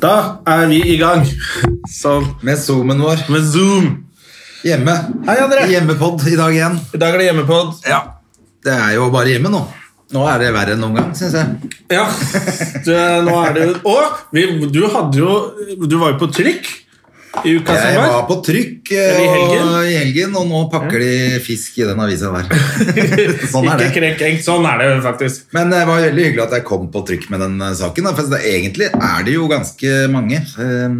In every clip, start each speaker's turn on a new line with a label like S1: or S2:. S1: Da er vi i gang. Sånn.
S2: Med zoomen vår
S1: Med Zoom.
S2: hjemme.
S1: Hei, André.
S2: Hjemmepod i dag igjen.
S1: I dag er det hjemmepod.
S2: Ja. Det er jo bare hjemme nå. Nå er det verre enn noen gang, syns jeg.
S1: Ja. Du, nå er det jo Og vi, du hadde jo Du var jo på trykk i uka
S2: Jeg
S1: som
S2: var
S1: var.
S2: på trykk
S1: Er det i
S2: eh, og,
S1: helgen?
S2: i helgen, og nå pakker de fisk i den avisa der. sånn
S1: Ikke
S2: er det.
S1: krenk enk. Sånn er det faktisk.
S2: Men eh, det var veldig hyggelig at jeg kom på trykk med den eh, saken. Da, for det, egentlig er det jo ganske mange. eh,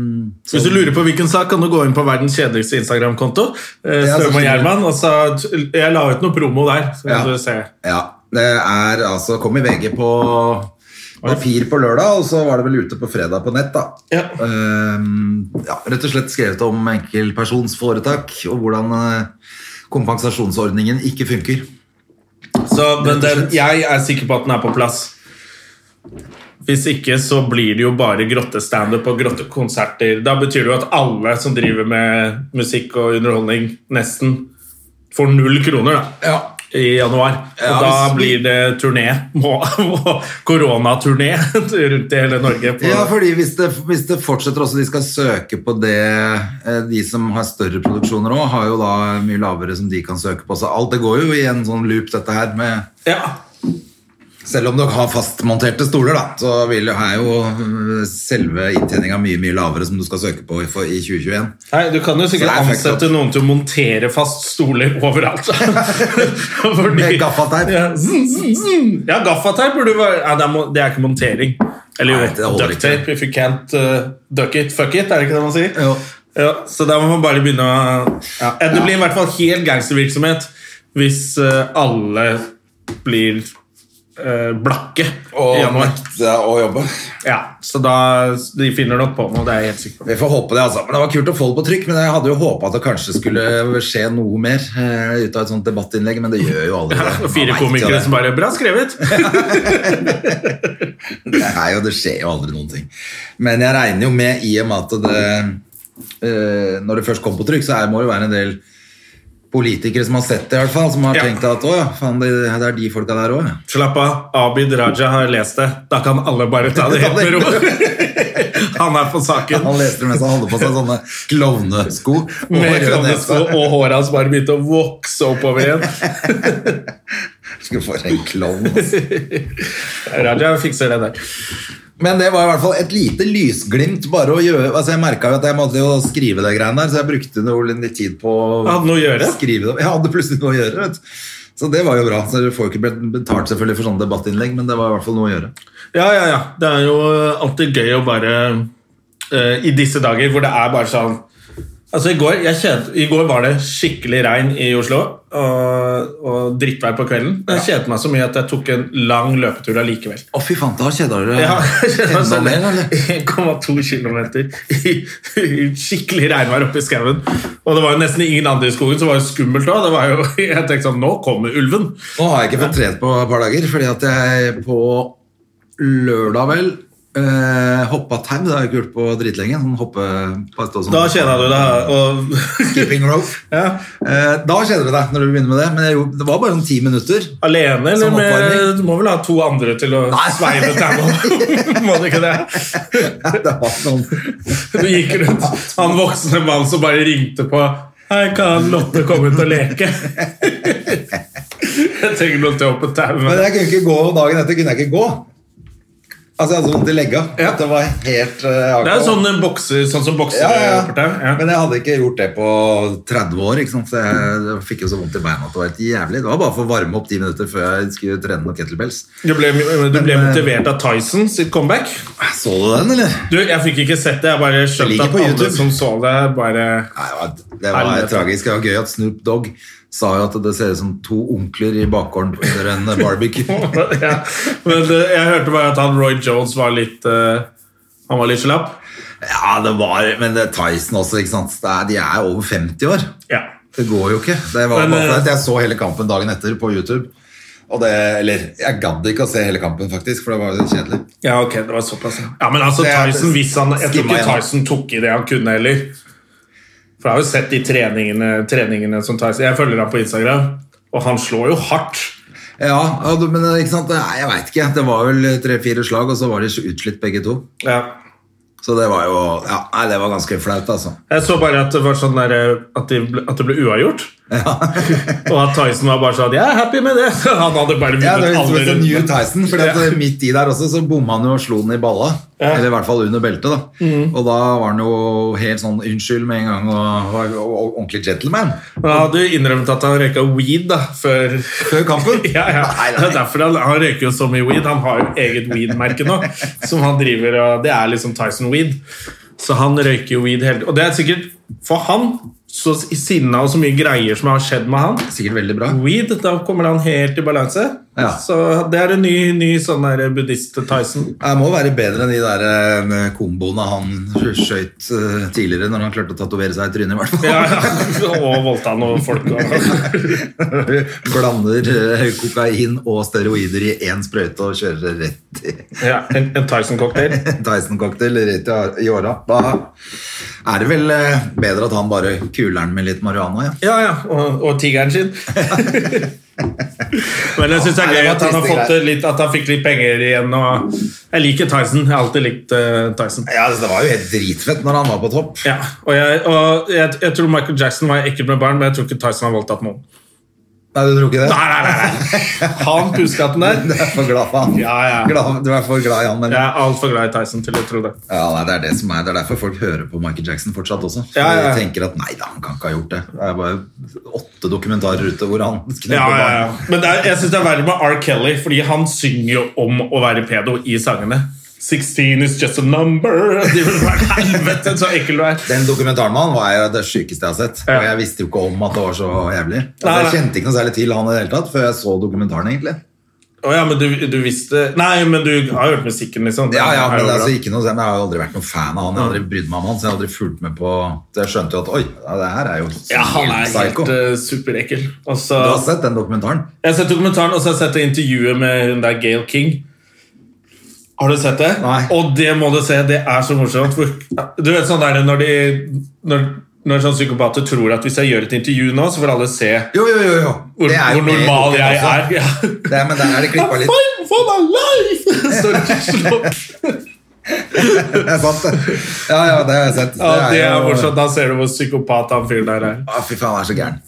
S1: Hvis du lurer på hvilken sak, kan du gå inn på verdens kjedeligste Instagram-konto. eh, Støme
S2: Ja,
S1: og
S2: selvfølgelig.
S1: Gjerman. og så- Jeg la ut noe promo der. Så kan
S2: Ja.
S1: du se.
S2: Ja, det er altså Kom i VG på papir på lørdag, og så var det vel ute på fredag på nett, da.
S1: Ja.
S2: Ehm, ja, rett og slett skrevet om enkeltpersonsforetak og hvordan eh, kompensasjonsordningen ikke funker.
S1: Så, men
S2: Rett og
S1: den,
S2: slett.
S1: jeg er sikker på at den er på plass. Hvis ikke så blir det jo bare grottestandup og grottekonserter. Da betyr det jo at alle som driver med musikk og underholdning, nesten får null kroner da,
S2: Ja.
S1: i januar. Og
S2: Ja,
S1: da
S2: hvis vi-
S1: blir det turné. må- må- Koronaturné rundt i hele Norge. på-
S2: Ja, fordi hvis det, hvis det fortsetter også, de skal søke på det eh, De som har større produksjoner òg, har jo da mye lavere som de kan søke på. Så alt det går jo i en sånn loop, dette her med
S1: ja.
S2: Selv om dere har fastmonterte stoler, da, så vil, er jo øh, selve inntjeninga mye mye lavere som du skal søke på i, for, i 2021.
S1: Nei, Du kan jo sikkert
S2: Så det er fucked
S1: ansette
S2: up.
S1: noen til å montere fast stoler overalt. Fordi,
S2: Med gaffateip.
S1: Ja, zzzz, zzzz. ja gaffateip burde jo være Nei, det er, mo- det er ikke montering. Eller
S2: Nei, det
S1: jo,
S2: holder ikke.
S1: ducktape if you can't uh, duck it, fuck it, er det ikke det man sier?
S2: Jo.
S1: Ja, så da må man bare begynne å ja, eh, Det blir i hvert fall helt gangstervirksomhet hvis uh, alle blir uh, blakke i januar.
S2: nekte å jobbe.
S1: Ja, så da De finner nok på noe, det er jeg helt sikker på.
S2: Vi får håpe det, altså. Men det var kult å få det på trykk. Men jeg hadde jo håpa at det kanskje skulle skje noe mer eh, ut av et sånt debattinnlegg, men det gjør jo aldri det.
S1: Og
S2: Man
S1: fire
S2: vet jo
S1: komikere
S2: det.
S1: som bare 'Bra skrevet'.
S2: Det er jo, det skjer jo aldri noen ting. Men jeg regner jo med i og med at det eh, Når det først kom på trykk, så er, må det jo være en del politikere som har sett det, i hvert fall. Som har
S1: Ja.
S2: tenkt at å ja, faen, det, det er de folka der òg, ja.
S1: Slapp av, Abid Raja har lest det. Da kan alle bare ta det helt med ro. Han er på saken.
S2: Han leste det mens han holdt på seg sånne klovnesko. og
S1: Med
S2: rød nese.
S1: klovnesko, og håret hans bare begynte å vokse oppover igjen.
S2: Skulle få en klovn. altså.
S1: Raja fikser det der.
S2: Men det var i hvert fall et lite lysglimt. bare å gjøre, altså Jeg merka jo at jeg måtte jo skrive det greiene der, så jeg brukte noe litt tid på å
S1: Hadde noe å gjøre?
S2: skrive det. Jeg hadde plutselig noe å gjøre. vet du. Så det var jo bra. så Du får jo ikke betalt selvfølgelig for sånne debattinnlegg, men det var i hvert fall noe å gjøre.
S1: Ja, ja, ja. Det er jo alltid gøy å bare eh, I disse dager hvor det er bare sånn Altså, i går, jeg kjente, I går var det skikkelig regn i Oslo og, og drittvær på kvelden. Jeg kjedet meg så mye at jeg tok en lang løpetur allikevel.
S2: Å, fy faen, da kjeda du deg
S1: Ja, Altså,
S2: enda mer, eller?
S1: 1,2 km i i skikkelig regnvær oppe i skauen. Og det var jo nesten ingen andre i skogen, så det var jo skummelt òg. Jeg tenkte sånn Nå kommer ulven!
S2: Nå har jeg ikke fått trent på et par dager, fordi at jeg på lørdag vel eh, hoppa tau. Det har jeg ikke gjort på dritlenge. Sånn hoppe, bare stå sånn.
S1: Da kjeda du deg. Og
S2: Skipping rope.
S1: ja.
S2: Eh, da kjeder du deg når du begynner med det, men jeg, gjorde- det var bare sånn ti minutter.
S1: Alene, eller
S2: Som
S1: med
S2: oppvarming.
S1: Du må vel ha to andre til å sveive tauene? Må du ikke det?
S2: Det var sånn
S1: Du gikk rundt han voksne mannen som bare ringte på Hei, kan Lotte komme ut og leke? Jeg trenger noe til å hoppe tau.
S2: Men
S1: men-
S2: jeg kunne ikke gå dagen etter. kunne jeg ikke gå Altså, jeg hadde så vondt i legga.
S1: Ja.
S2: Det var helt eh,
S1: Det er jo sånn, en bokser, sånn som bokser
S2: ja, ja,
S1: hopper tau,
S2: ja.
S1: ja.
S2: Men jeg hadde ikke gjort det på 30 år, ikke sant? så jeg, jeg fikk jo så vondt i beina at det var helt jævlig. Det var bare for å varme opp ti minutter før jeg skulle trene noen kettlebells.
S1: Du ble, du ble
S2: Men, eh,
S1: motivert av Tyson sitt comeback.
S2: Så du den, eller?
S1: Du, Jeg fikk ikke sett det. Jeg bare
S2: Det
S1: skjønte
S2: ligger
S1: at
S2: på
S1: alle
S2: YouTube.
S1: som så det, bare
S2: Nei, det var- det var
S1: Helvete.
S2: tragisk. Det var gøy at Snoop Dogg sa jo at det ser ut som to onkler i bakgården under en barbecue.
S1: ja. Men eh, jeg hørte bare at han Roy Jones var litt eh, Han var litt slapp.
S2: Ja, det var Men det er Tyson også, ikke sant. Det er, de er over 50 år.
S1: Ja.
S2: Det går jo ikke. Det var
S1: Men,
S2: bare for
S1: eh,
S2: at jeg så hele kampen dagen etter på YouTube. Og det, eller, jeg gadd ikke å se hele kampen, faktisk, for det var jo kjedelig.
S1: ja, ok, det var såpass. ja. Ja, Men altså,
S2: Det er-
S1: Tyson, hvis han Jeg tror
S2: Skippa
S1: ikke
S2: igjen.
S1: Tyson tok i det han kunne heller. For jeg har jo sett de treningene, treningene som Tyson Jeg følger ham på Instagram, og han slår jo hardt.
S2: Ja, og du- men eh, ikke sant? Nei, jeg veit ikke. Det var vel tre-fire slag, og så var de så utslitt begge to.
S1: Ja.
S2: Så det var jo ja, Nei, det var ganske flaut, altså.
S1: Jeg så bare at det var sånn der, eh, at, de, ble- at det ble uavgjort. og at Tyson var bare sånn Jeg er happy med det! Han hadde bare
S2: Ja, det
S1: vunnet
S2: var
S1: alle
S2: litt som New
S1: rundene.
S2: Tyson, for at eh,
S1: Ja.
S2: midt i der også så bomma han jo og slo den i balla.
S1: Ja. Mhm.
S2: Eller i hvert fall under beltet, da. Og da var han jo helt sånn unnskyld med en gang og var jo ordentlig gentleman
S1: Men han hadde jo innrømt at han røyka weed da, før
S2: før kampen.
S1: ja, ja.
S2: Nei,
S1: Det er
S2: nei.
S1: derfor han, han røyker jo så mye weed. Han har jo eget weed-merke nå, som han driver og Det er liksom Tyson Weed. Så han røyker jo weed hele Og det er sikkert for han, så sinna og så mye greier som har skjedd med han
S2: Sikkert veldig bra.
S1: Weed, da kommer han helt i balanse.
S2: Ja.
S1: Så det er en ny, ny sånn der buddhist-Tyson.
S2: Det må være bedre enn de der eh, komboene han skøyt eh, tidligere, når han klarte å tatovere seg i trynet, i hvert fall.
S1: Ja, ja. Og voldta noen folk. Og.
S2: Blander eh, kokain og steroider i én sprøyte og kjører rett i
S1: Ja, en, en Tyson-cocktail.
S2: Tyson-cocktail rett i ar- i åra. Da er det vel eh, bedre at han bare kuler den med litt marihuana, ja.
S1: Ja, ja. Og, og tigeren sin. Men jeg syns det er
S2: Nei, det
S1: gøy
S2: var
S1: at han, har
S2: triste
S1: fått
S2: greier.
S1: litt, at han fikk litt penger igjen. Og jeg liker Tyson. Jeg har alltid likt eh, Tyson.
S2: Ja, altså, Det var jo helt dritfett når han var på topp.
S1: Ja, og jeg, og jeg, jeg tror Michael Jackson var ekkel med barn, men jeg tror ikke Tyson har voldtatt noen.
S2: Nei, du tror ikke det?
S1: Nei, nei, nei, nei. Han puskatten
S2: Du
S1: der.
S2: er for glad for han.
S1: Ja, ja.
S2: Glad, du er for glad i han, men
S1: Jeg er altfor glad i Tyson til å tro det.
S2: Ja, nei, det er det som er. Det er derfor folk hører på Michael Jackson fortsatt også. For
S1: Ja, ja, ja.
S2: De tenker at nei da, han kan ikke ha gjort det. Det er bare åtte dokumentarer ute hvor han knuller
S1: Ja, ja, ja.
S2: barn.
S1: Men det er, jeg syns det er verre med R. Kelly, fordi han synger jo om å være pedo i sangene. 16 is just a number. De vil være, Helvete, så ekkel du er.
S2: Den dokumentaren med han var jo det sykeste jeg har sett.
S1: Ja.
S2: Og jeg visste jo ikke om at det var så jævlig. Altså,
S1: Nei,
S2: jeg
S1: nei.
S2: kjente ikke noe særlig til han i det hele tatt før jeg så dokumentaren, egentlig.
S1: Å ja, men du, du visste Nei, men du har hørt musikken, liksom. Den
S2: Ja, ja,
S1: er
S2: men
S1: jo
S2: altså,
S1: bra.
S2: ikke noe, men Jeg har jo aldri vært noen fan av han. Jeg har aldri
S1: Mm.
S2: brydd meg om han, så jeg har aldri fulgt med på Så jeg skjønte jo at oi, ja, det her er jo
S1: ja, han er helt
S2: psycho.
S1: eh, superekkel. Og så
S2: Du har sett den dokumentaren?
S1: Jeg har sett dokumentaren, og så har jeg sett det intervjuet med hun der Gail King. Har du sett det?
S2: Nei.
S1: Og det må du se, det er så morsomt. For, du vet sånn der når de når, når sånne psykopater tror at hvis jeg gjør et intervju nå, så får alle se
S2: Jo, jo, jo. jo.
S1: hvor,
S2: Det er jo
S1: hvor
S2: med i
S1: normal
S2: boken
S1: jeg
S2: også.
S1: er. Ja.
S2: Det er, men der er det klippa litt.
S1: Fight for my life! Står det til slutt.
S2: Det er sant, det. Ja, ja, det har jeg sett.
S1: Ja, det er
S2: jo-
S1: morsomt. Da ser du hvor psykopat han fyren der er.
S2: Å, fy faen, han er så gæren.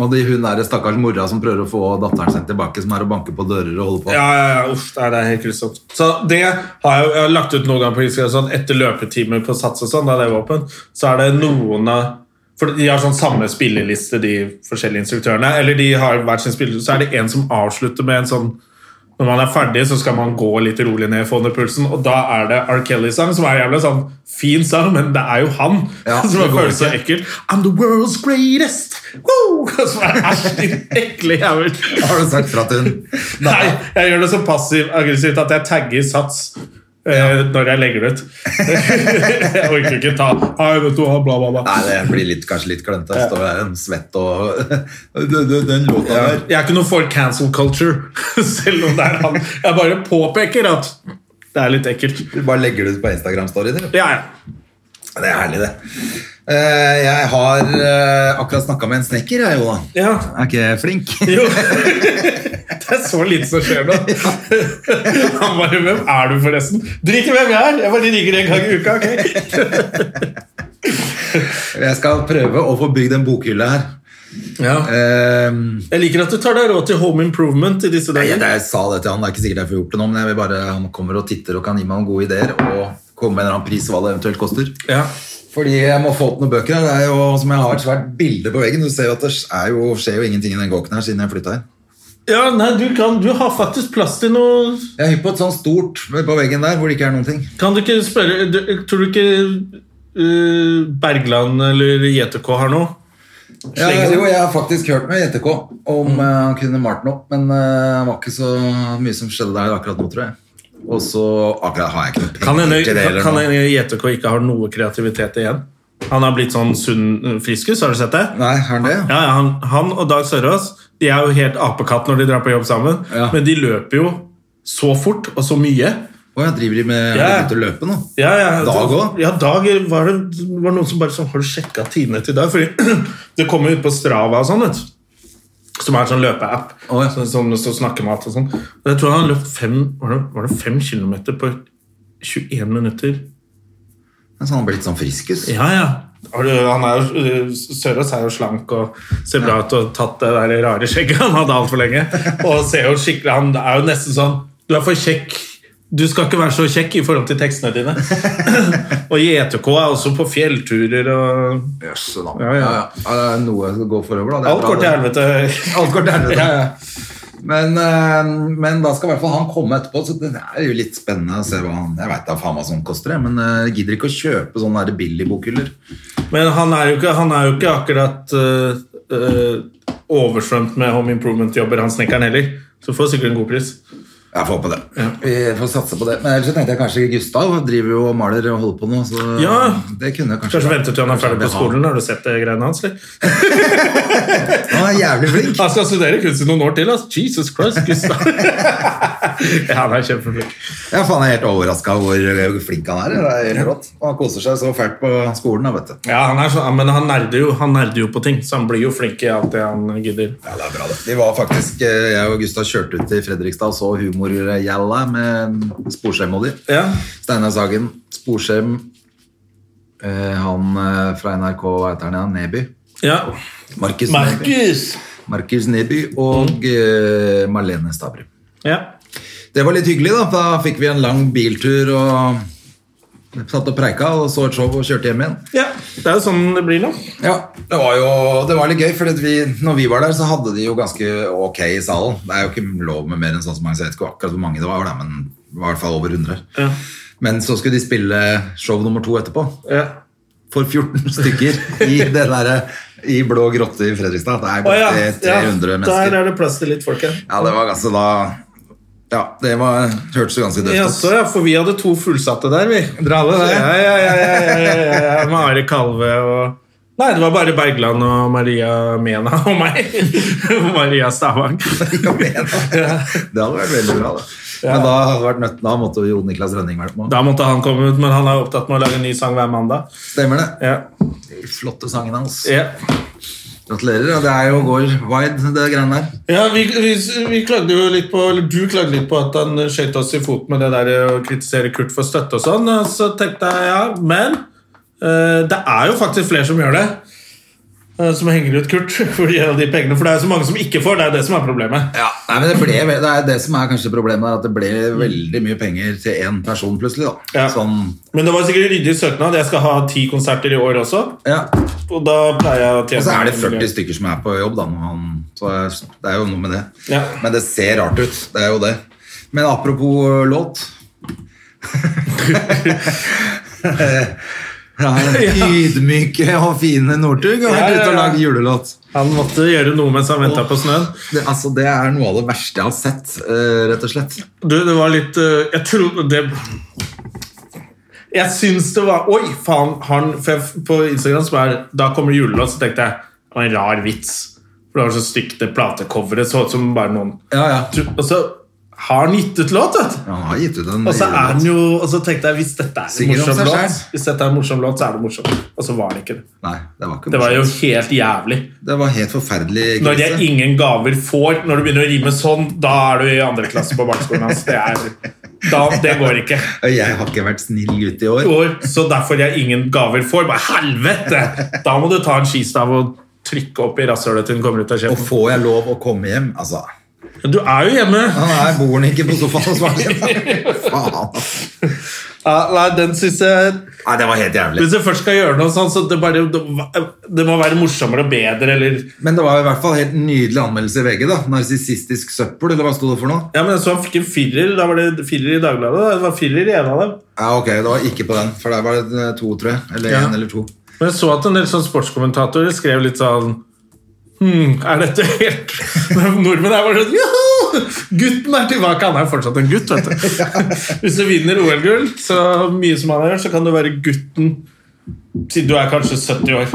S2: Og de, hun der stakkars mora som prøver å få datteren sin tilbake, som er og banker på dører og holder på.
S1: Ja, ja, ja. Uff, det er, det er helt grusomt. Så det har jeg, jo- jeg har lagt ut noen ganger på Instagram sånn, etter løpetimer på Sats og sånn, da det var åpen, så er det noen av for De har sånn samme spilleliste, de forskjellige instruktørene. Eller de har hver sin spilleliste, så er det en som avslutter med en sånn Når man er ferdig, så skal man gå litt rolig ned, få ned pulsen, og da er det R. Kelly-sang, som er en jævla sånn fin sang, men det er jo han
S2: Ja,
S1: som
S2: det går
S1: føles så
S2: ikke.
S1: ekkel. I'm the world's greatest! Woo! Som er æsj, din ekle jævel.
S2: Har du sagt fra til hun?
S1: Nei, jeg gjør det så passiv-aggressivt at jeg tagger sats eh, når jeg legger det ut. jeg orker ikke ta Hei, vet du, hva, bla, bla, bla.
S2: Nei, det blir litt, kanskje litt klønete. Jeg Står der en svett og Den, den- den
S1: Ja,
S2: låta der.
S1: Jeg er ikke noe for cancel culture, selv om det er han. Jeg bare påpeker at det er litt ekkelt.
S2: Du bare legger det ut på Instagram-storyen din.
S1: Ja, ja.
S2: Det er herlig, det. Eh, Jeg har eh, akkurat snakka med en snekker, jeg, Johan.
S1: ja.
S2: Er ikke jeg flink?
S1: Jo. Det er så lite som skjer nå. Han bare 'Hvem er du, forresten?' Drit i hvem jeg er, jeg bare ringer en gang i uka. ok?
S2: Jeg skal prøve å få bygd en bokhylle her. Eh,
S1: Jeg liker at du tar deg råd til home improvement i disse
S2: Nei, jeg,
S1: dager.
S2: jeg sa det til han, det er ikke sikkert jeg får gjort det nå, men jeg vil bare, han kommer og titter og kan gi meg noen gode ideer, og komme med en eller annen pris hva det eventuelt koster.
S1: Ja.
S2: Fordi jeg må få opp noen bøker her, det er jo som jeg har et svært bilde på veggen, du ser jo at det er jo, skjer jo ingenting i den kåken her siden jeg flyttet her.
S1: Ja, nei, du, kan, du har faktisk plass til noe
S2: Jeg er hypp på et sånt stort på veggen der, hvor det ikke er noen ting.
S1: Kan du ikke spørre du, Tror du ikke eh, Bergland eller JTK har noe?
S2: Ja,
S1: Slenger.
S2: jo, jeg har faktisk hørt med JTK om
S1: Mm.
S2: eh, han kunne malt noe, men eh, det var ikke så mye som skjedde der akkurat nå, tror jeg. Og så akkurat har jeg ikke noe
S1: Kan
S2: penger
S1: hende
S2: til det heller
S1: kan
S2: nå.
S1: hende JTK ikke har noe kreativitet igjen. Han har blitt sånn sunn friskus, har du sett det?
S2: Nei, har han det?
S1: Ja, ja, han, han og Dag Sørås De er jo helt apekatt når de drar på jobb sammen,
S2: Ja.
S1: men de løper jo så fort og så mye.
S2: Åh, jeg driver de med
S1: Ja.
S2: har de begynt å løpe nå.
S1: Ja, ja.
S2: Dag også?
S1: Ja, Dag var det var noen som bare sånn Har du sjekka tidene til Dag? Fordi det kommer ut på Strava og sånn, vet du. Som er en sånn løpeapp.
S2: Å, ja.
S1: Som, som, som snakker med alt og sånn. Og jeg tror han løp fem Var det, var det fem kilometer på 21 minutter?
S2: Men så har han blitt sånn friskus.
S1: Ja, ja. Har du- Han er jo, øh, Sørås er jo slank og ser bra ut og tatt det der rare skjegget han hadde altfor lenge. Og ser jo skikkelig, Han er jo nesten sånn Du er for kjekk. Du skal ikke være så kjekk i forhold til tekstene dine. og JTK er også på fjellturer og
S2: Jøsse navn.
S1: Ja, ja.
S2: Ja, det er noe å gå forover, da. Det er
S1: Alt
S2: bra,
S1: går til
S2: det.
S1: helvete.
S2: Alt går til helvete.
S1: Ja,
S2: Men, eh, men da skal i hvert fall han komme etterpå, så det er jo litt spennende å se hva han Jeg veit da faen hva sånt koster, jeg, men eh, jeg gidder ikke å kjøpe sånne der billigbokhyller.
S1: Men han er jo ikke, han er jo ikke akkurat øh, øh, oversvømt med home improvement-jobber, han snekkeren heller. Så får sikkert en god pris.
S2: Jeg får håpe det. Vi får satse på det. Men ellers så tenkte jeg kanskje Gustav driver jo og maler og holder på nå, så
S1: Ja.
S2: det kunne jeg kanskje
S1: Kanskje vente til han er ferdig på
S2: Kanskje han
S1: skolen. Har du sett det greiene hans? eller?
S2: blir- Han er jævlig flink.
S1: Han skal studere kunst i noen år til. Altså. Jesus Christ, Gustav. ja, han er kjempeflink.
S2: Ja, faen, jeg er helt overraska hvor flink han er. Det er helt rått. Og han koser seg så fælt på skolen, da, vet du.
S1: Ja, han er sånn, men han nerder, jo, han nerder jo på ting, så han blir jo flink i alt det han gidder.
S2: Ja, det er bra det. Vi var faktisk, eh, Jeg og Gustav kjørte ut til Fredrikstad og så Humorgjalla med Sporsem og de.
S1: Ja,
S2: Steinar Sagen. Sporsem, eh, han eh, fra NRK, hva heter han igjen? Neby?
S1: ja.
S2: Markus Neby.
S1: Markus!
S2: Markus Neby og eh, Marlene Stavrum.
S1: Ja.
S2: Det var litt hyggelig, da. Da fikk vi en lang biltur og satt og preika og så et show og kjørte hjem igjen.
S1: ja, det er jo sånn det blir nå.
S2: Ja, det var jo det var litt gøy, for vi, når vi var der, så hadde de jo ganske ok i salen. Det er jo ikke lov med mer enn sånn som mange, så jeg vet ikke akkurat hvor mange det var, da, men det var i hvert fall over 100.
S1: Ja.
S2: Men så skulle de spille show nummer to etterpå,
S1: Ja.
S2: for 14 stykker i det derre i Blå grotte i Fredrikstad. Det er
S1: Å, ja.
S2: godt til
S1: ja.
S2: 300
S1: Der
S2: mennesker.
S1: er det plass til litt folk her.
S2: Ja, det var ganske da Ja, det var, hørtes jo ganske
S1: Ja,
S2: døvt
S1: så,
S2: ut.
S1: ja, for vi hadde to fullsatte der, vi.
S2: Dere hadde det?
S1: Ja, ja, ja, ja, ja, ja, ja, ja. Med Ari Kalve og Nei, det var bare Bergland og Maria Mena og meg. Og Maria Stavang.
S2: Ja, men, Det hadde vært veldig bra, da. Men da hadde det vært nødt da måtte jo Jon Niklas Rønning vært med.
S1: Da måtte han komme ut, men han er opptatt med å lage en ny sang hver mandag.
S2: Stemmer det?
S1: Ja,
S2: De flotte sangene hans.
S1: ja.
S2: Gratulerer. og Det er jo går wide, det greiene der.
S1: ja vi, vi, vi klagde jo litt på Eller du klagde litt på at han skjøt oss i foten med det der eh, å kritisere Kurt for støtte og sånn. Og så tenkte jeg ja, men eh, det er jo faktisk flere som gjør det. eh, Som henger ut Kurt for de, de pengene. For det er jo så mange som ikke får. Det er det som er problemet.
S2: Ja, nei, men det, ble, det er det som er kanskje problemet, er at det ble veldig mye penger til én person plutselig. da.
S1: Ja.
S2: Sånn,
S1: Men det var sikkert ryddig søknad. Jeg skal ha ti konserter i år også.
S2: ja.
S1: Og da pleier jeg å tjene
S2: Og så er det 40 stykker som er på jobb, da. Når han, så det er jo noe med det.
S1: Ja.
S2: Men det ser rart ut. Det er jo det. Men apropos øh, låt Ja, Ydmyke og fine Northug har
S1: Ja, ja,
S2: vært ute og
S1: ja.
S2: lagd julelåt.
S1: Han måtte gjøre noe mens han venta på snøen.
S2: Det, altså, det er noe av det verste jeg har sett, eh, rett og slett.
S1: Du, det var litt eh, Jeg trodde det Jeg syns det var Oi, faen! Han, for jeg, på Instagram som er Da kommer det julelåt, så tenkte jeg det var en rar vits. For det var så stygt, det platecoveret så ut som bare noen
S2: Ja, ja.
S1: Og så har han gitt ut låt, vet du!
S2: Han har gitt ut en
S1: Og så er den
S2: julelåt.
S1: jo Og så tenkte jeg hvis dette er en
S2: Synger om
S1: morsom
S2: seg
S1: låt,
S2: selv.
S1: Hvis dette er en morsom låt, så er det morsomt. Og så var det ikke det.
S2: Nei, det var ikke
S1: Det var jo
S2: morsomt.
S1: helt jævlig.
S2: Det var helt forferdelig
S1: Når
S2: krise.
S1: jeg ingen gaver får, når du begynner å rime sånn, da er du i andre klasse på barneskolen hans. Det, er, da, det går ikke.
S2: Og jeg har ikke vært snill gutt i år.
S1: Går, så derfor jeg ingen gaver får. Bare helvete! Da må du ta en skistav og trykke opp i rasshølet til den kommer ut av
S2: Og
S1: kjeften.
S2: får jeg lov å komme hjem? Altså,
S1: Du er jo hjemme!
S2: han er bor han ikke på sofaen hos faren sin? Faen. altså.
S1: Ja, nei, den synes jeg
S2: Nei, det var helt jævlig.
S1: Hvis du først skal gjøre noe sånn, så det, bare, det må være morsommere og bedre, eller
S2: Men det var i hvert fall helt nydelig anmeldelse i VG. da Narsissistisk søppel, eller hva sto det for noe?
S1: Ja, men jeg så han fikk en firer. Da var det firer i Dagbladet. da. Det var firer i en av dem.
S2: Ja, ok, det var ikke på den, for der var det eh, to, tror jeg. Eller
S1: Ja.
S2: en eller to.
S1: Men jeg så at en del sånn sportskommentatorer skrev litt sånn Hm, er dette helt Nordmenn er bare sånn Joho! Gutten er tilbake! Han er jo fortsatt en gutt, vet du. Hvis du vinner OL-gull, så mye som han har gjort, så kan du være gutten siden du er kanskje 70 år.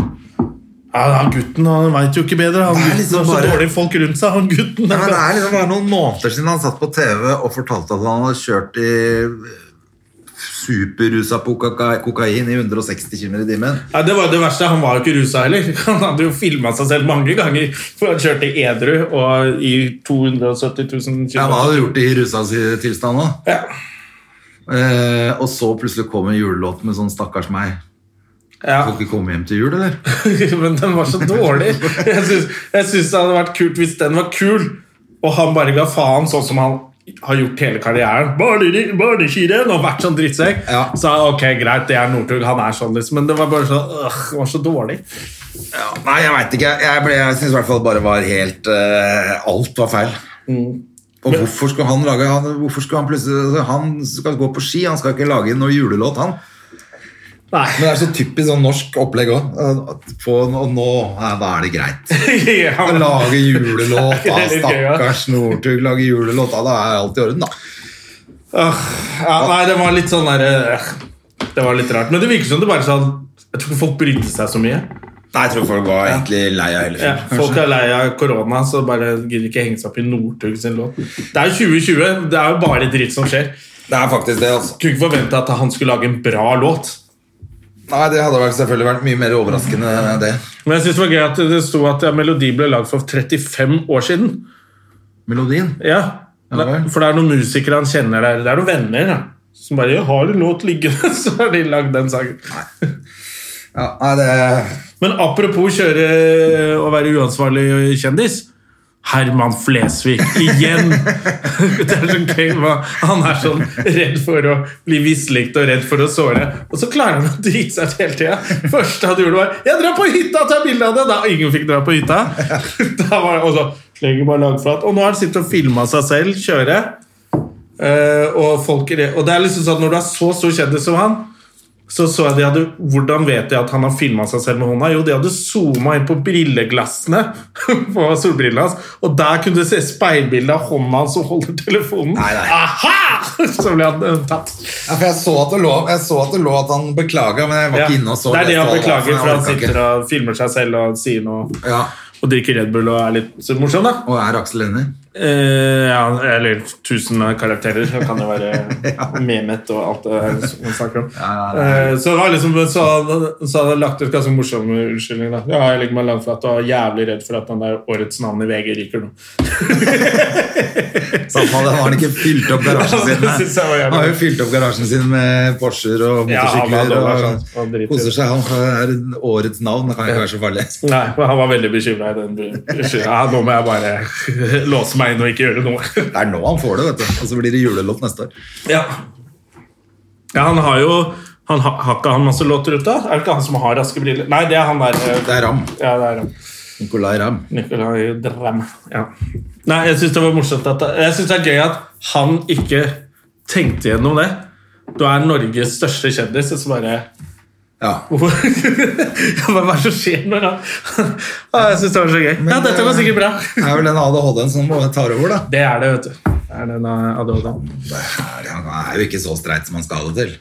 S1: Ja, han gutten han veit jo ikke bedre. Han
S2: Det er
S1: gutten
S2: liksom
S1: har så
S2: bare-
S1: dårlige folk rundt seg. Han gutten
S2: Nei,
S1: er
S2: men Det
S1: bare...
S2: er liksom bare noen måneder siden han satt på TV og fortalte at han hadde kjørt i eh, superrusa på koka- kokain i 160 km i timen.
S1: Nei, det var jo det verste. Han var jo ikke rusa heller. Han hadde jo filma seg selv mange ganger, for han kjørte edru og i 270 000 km.
S2: Ja, han hadde gjort det i rusa si tilstand òg.
S1: Ja.
S2: Eh, og så plutselig kom en julelåt med sånn 'stakkars meg'.
S1: Ja.
S2: Får ikke komme hjem til jul, eller?
S1: Men den var så dårlig. Jeg syns, jeg syns det hadde vært kult hvis den var kul, og han bare ga faen, sånn som han har gjort hele karrieren. Barne- Barneskirenn! Og vært sånn drittsekk.
S2: Ja.
S1: Så ok, greit, det er Northug, han er sånn, liksom. Men det var bare sånn øh, det var så dårlig.
S2: Ja, nei, jeg veit ikke. Jeg, ble- jeg syns i hvert fall bare var helt eh, Alt var feil. Mm. Og hvorfor skulle han lage han, Hvorfor skulle han plutselig altså, Han skal gå på ski, han skal ikke lage noe julelåt, han.
S1: Nei.
S2: Men det er så typisk sånn norsk opplegg òg. Og nå ja, da er det greit.
S1: Ja,
S2: Å
S1: men-
S2: Lage julelåt, da.
S1: Det er litt gøy, ja.
S2: Stakkars Northug lage julelåt. Da, da er alt i orden, da.
S1: Øh, ja, nei, det var litt sånn derre øh, Det var litt rart. Men det virker som det bare sånn Jeg tror ikke folk brydde seg så mye.
S2: Nei, jeg tror folk var egentlig lei av hele
S1: Ja,
S2: filmen.
S1: folk er lei av korona, så bare gidder ikke henge seg opp i Northug sin låt. Det er jo 2020. Det er jo bare dritt som skjer.
S2: Det er faktisk det, altså.
S1: Kunne ikke forvente at han skulle lage en bra låt.
S2: Nei, det hadde vært selvfølgelig vært mye mer overraskende, det.
S1: Men jeg synes det var gøy at det sto at ja, melodi ble lagd for 35 år siden.
S2: Melodien.
S1: Ja,
S2: Ja vel.
S1: For det er noen musikere han kjenner der. Det er noen venner da, som bare ja, 'Har du låt liggende?' Så har de lagd den sangen.
S2: Ja, nei, det
S1: Men apropos kjøre og være uansvarlig kjendis. Herman Flesvig igjen! det er så gøy hva han er sånn redd for å bli mislikt og redd for å såre. Og så klarer han å drite seg ut hele tida. Første han gjorde, var 'Jeg drar på hytta og tar bilde av det!' Da ingen fikk dra på hytta. da var det, og så legger bare lagflat. Og nå har han sittet og filma seg selv kjøre. Eh, og, folk, er- og det er liksom sånn at når du er så stor kjendis som han, så så jeg de hadde, Hvordan vet de at han har filma seg selv med hånda? Jo, de hadde zooma inn på brilleglassene på solbrillene hans, og der kunne du se speilbildet av hånda hans som holder telefonen.
S2: Nei, nei.
S1: Aha! Så ble han eh, tatt.
S2: ja, for jeg så, at det lå, jeg så at det lå at han beklaga, men jeg var
S1: Ja.
S2: ikke inne og så.
S1: det er det han
S2: leste altså. alt,
S1: beklager,
S2: jeg
S1: for han
S2: orka ikke.
S1: sitter og filmer seg selv og sier noe
S2: Ja,
S1: og drikker Red Bull og er litt morsom, da.
S2: Og er Aksel enig?
S1: Eh, ja, eller tusen karakterer. Det kan jo være Mehmet og alt det her som man snakker om.
S2: Ja, ja, ja.
S1: Eh, så det var liksom Så hadde- så hadde jeg lagt ut ganske morsomme unnskyldninger. da. Ja, jeg legger meg langflat og er jævlig redd for at han der årets navn i VG ryker nå.
S2: Samme det, han har ikke fylt opp garasjen
S1: Ja, det
S2: sin med
S1: synes jeg var jævlig.
S2: Han har jo fylt opp garasjen sin med Porscher og
S1: Ja, han
S2: motorsykler.
S1: hadde vært
S2: og,
S1: sånn, han driter.
S2: koser seg. Han er årets navn, det kan ikke være så farlig.
S1: Nei, men han var veldig bekymra i den byen. Ja, nå må jeg bare låse meg inn og ikke gjøre noe.
S2: Det er nå han får det, vet du. Og så blir det julelåt neste år.
S1: Ja, ja han har jo han har, har ikke han masse låter ute? Er det ikke han som har raske briller? Nei, det er han der. eh,
S2: Det er Ram.
S1: Ja, det er han.
S2: Nicolay Ram.
S1: Nicolai Dram. Ja. Nei, jeg syns det var morsomt at Jeg synes det er gøy at han ikke tenkte gjennom det. Du er Norges største kjendis, og så bare
S2: Ja.
S1: Hvorfor? Ja, men Hva er det som skjer når han ah, Jeg syns det var så gøy. Ja, dette
S2: eh,
S1: var sikkert bra.
S2: Det er vel den ADHD-en som tar over, da.
S1: Det er det, vet du. Det er den ADHD-en.
S2: Det er, han er jo ikke så streit som han skal ha det til.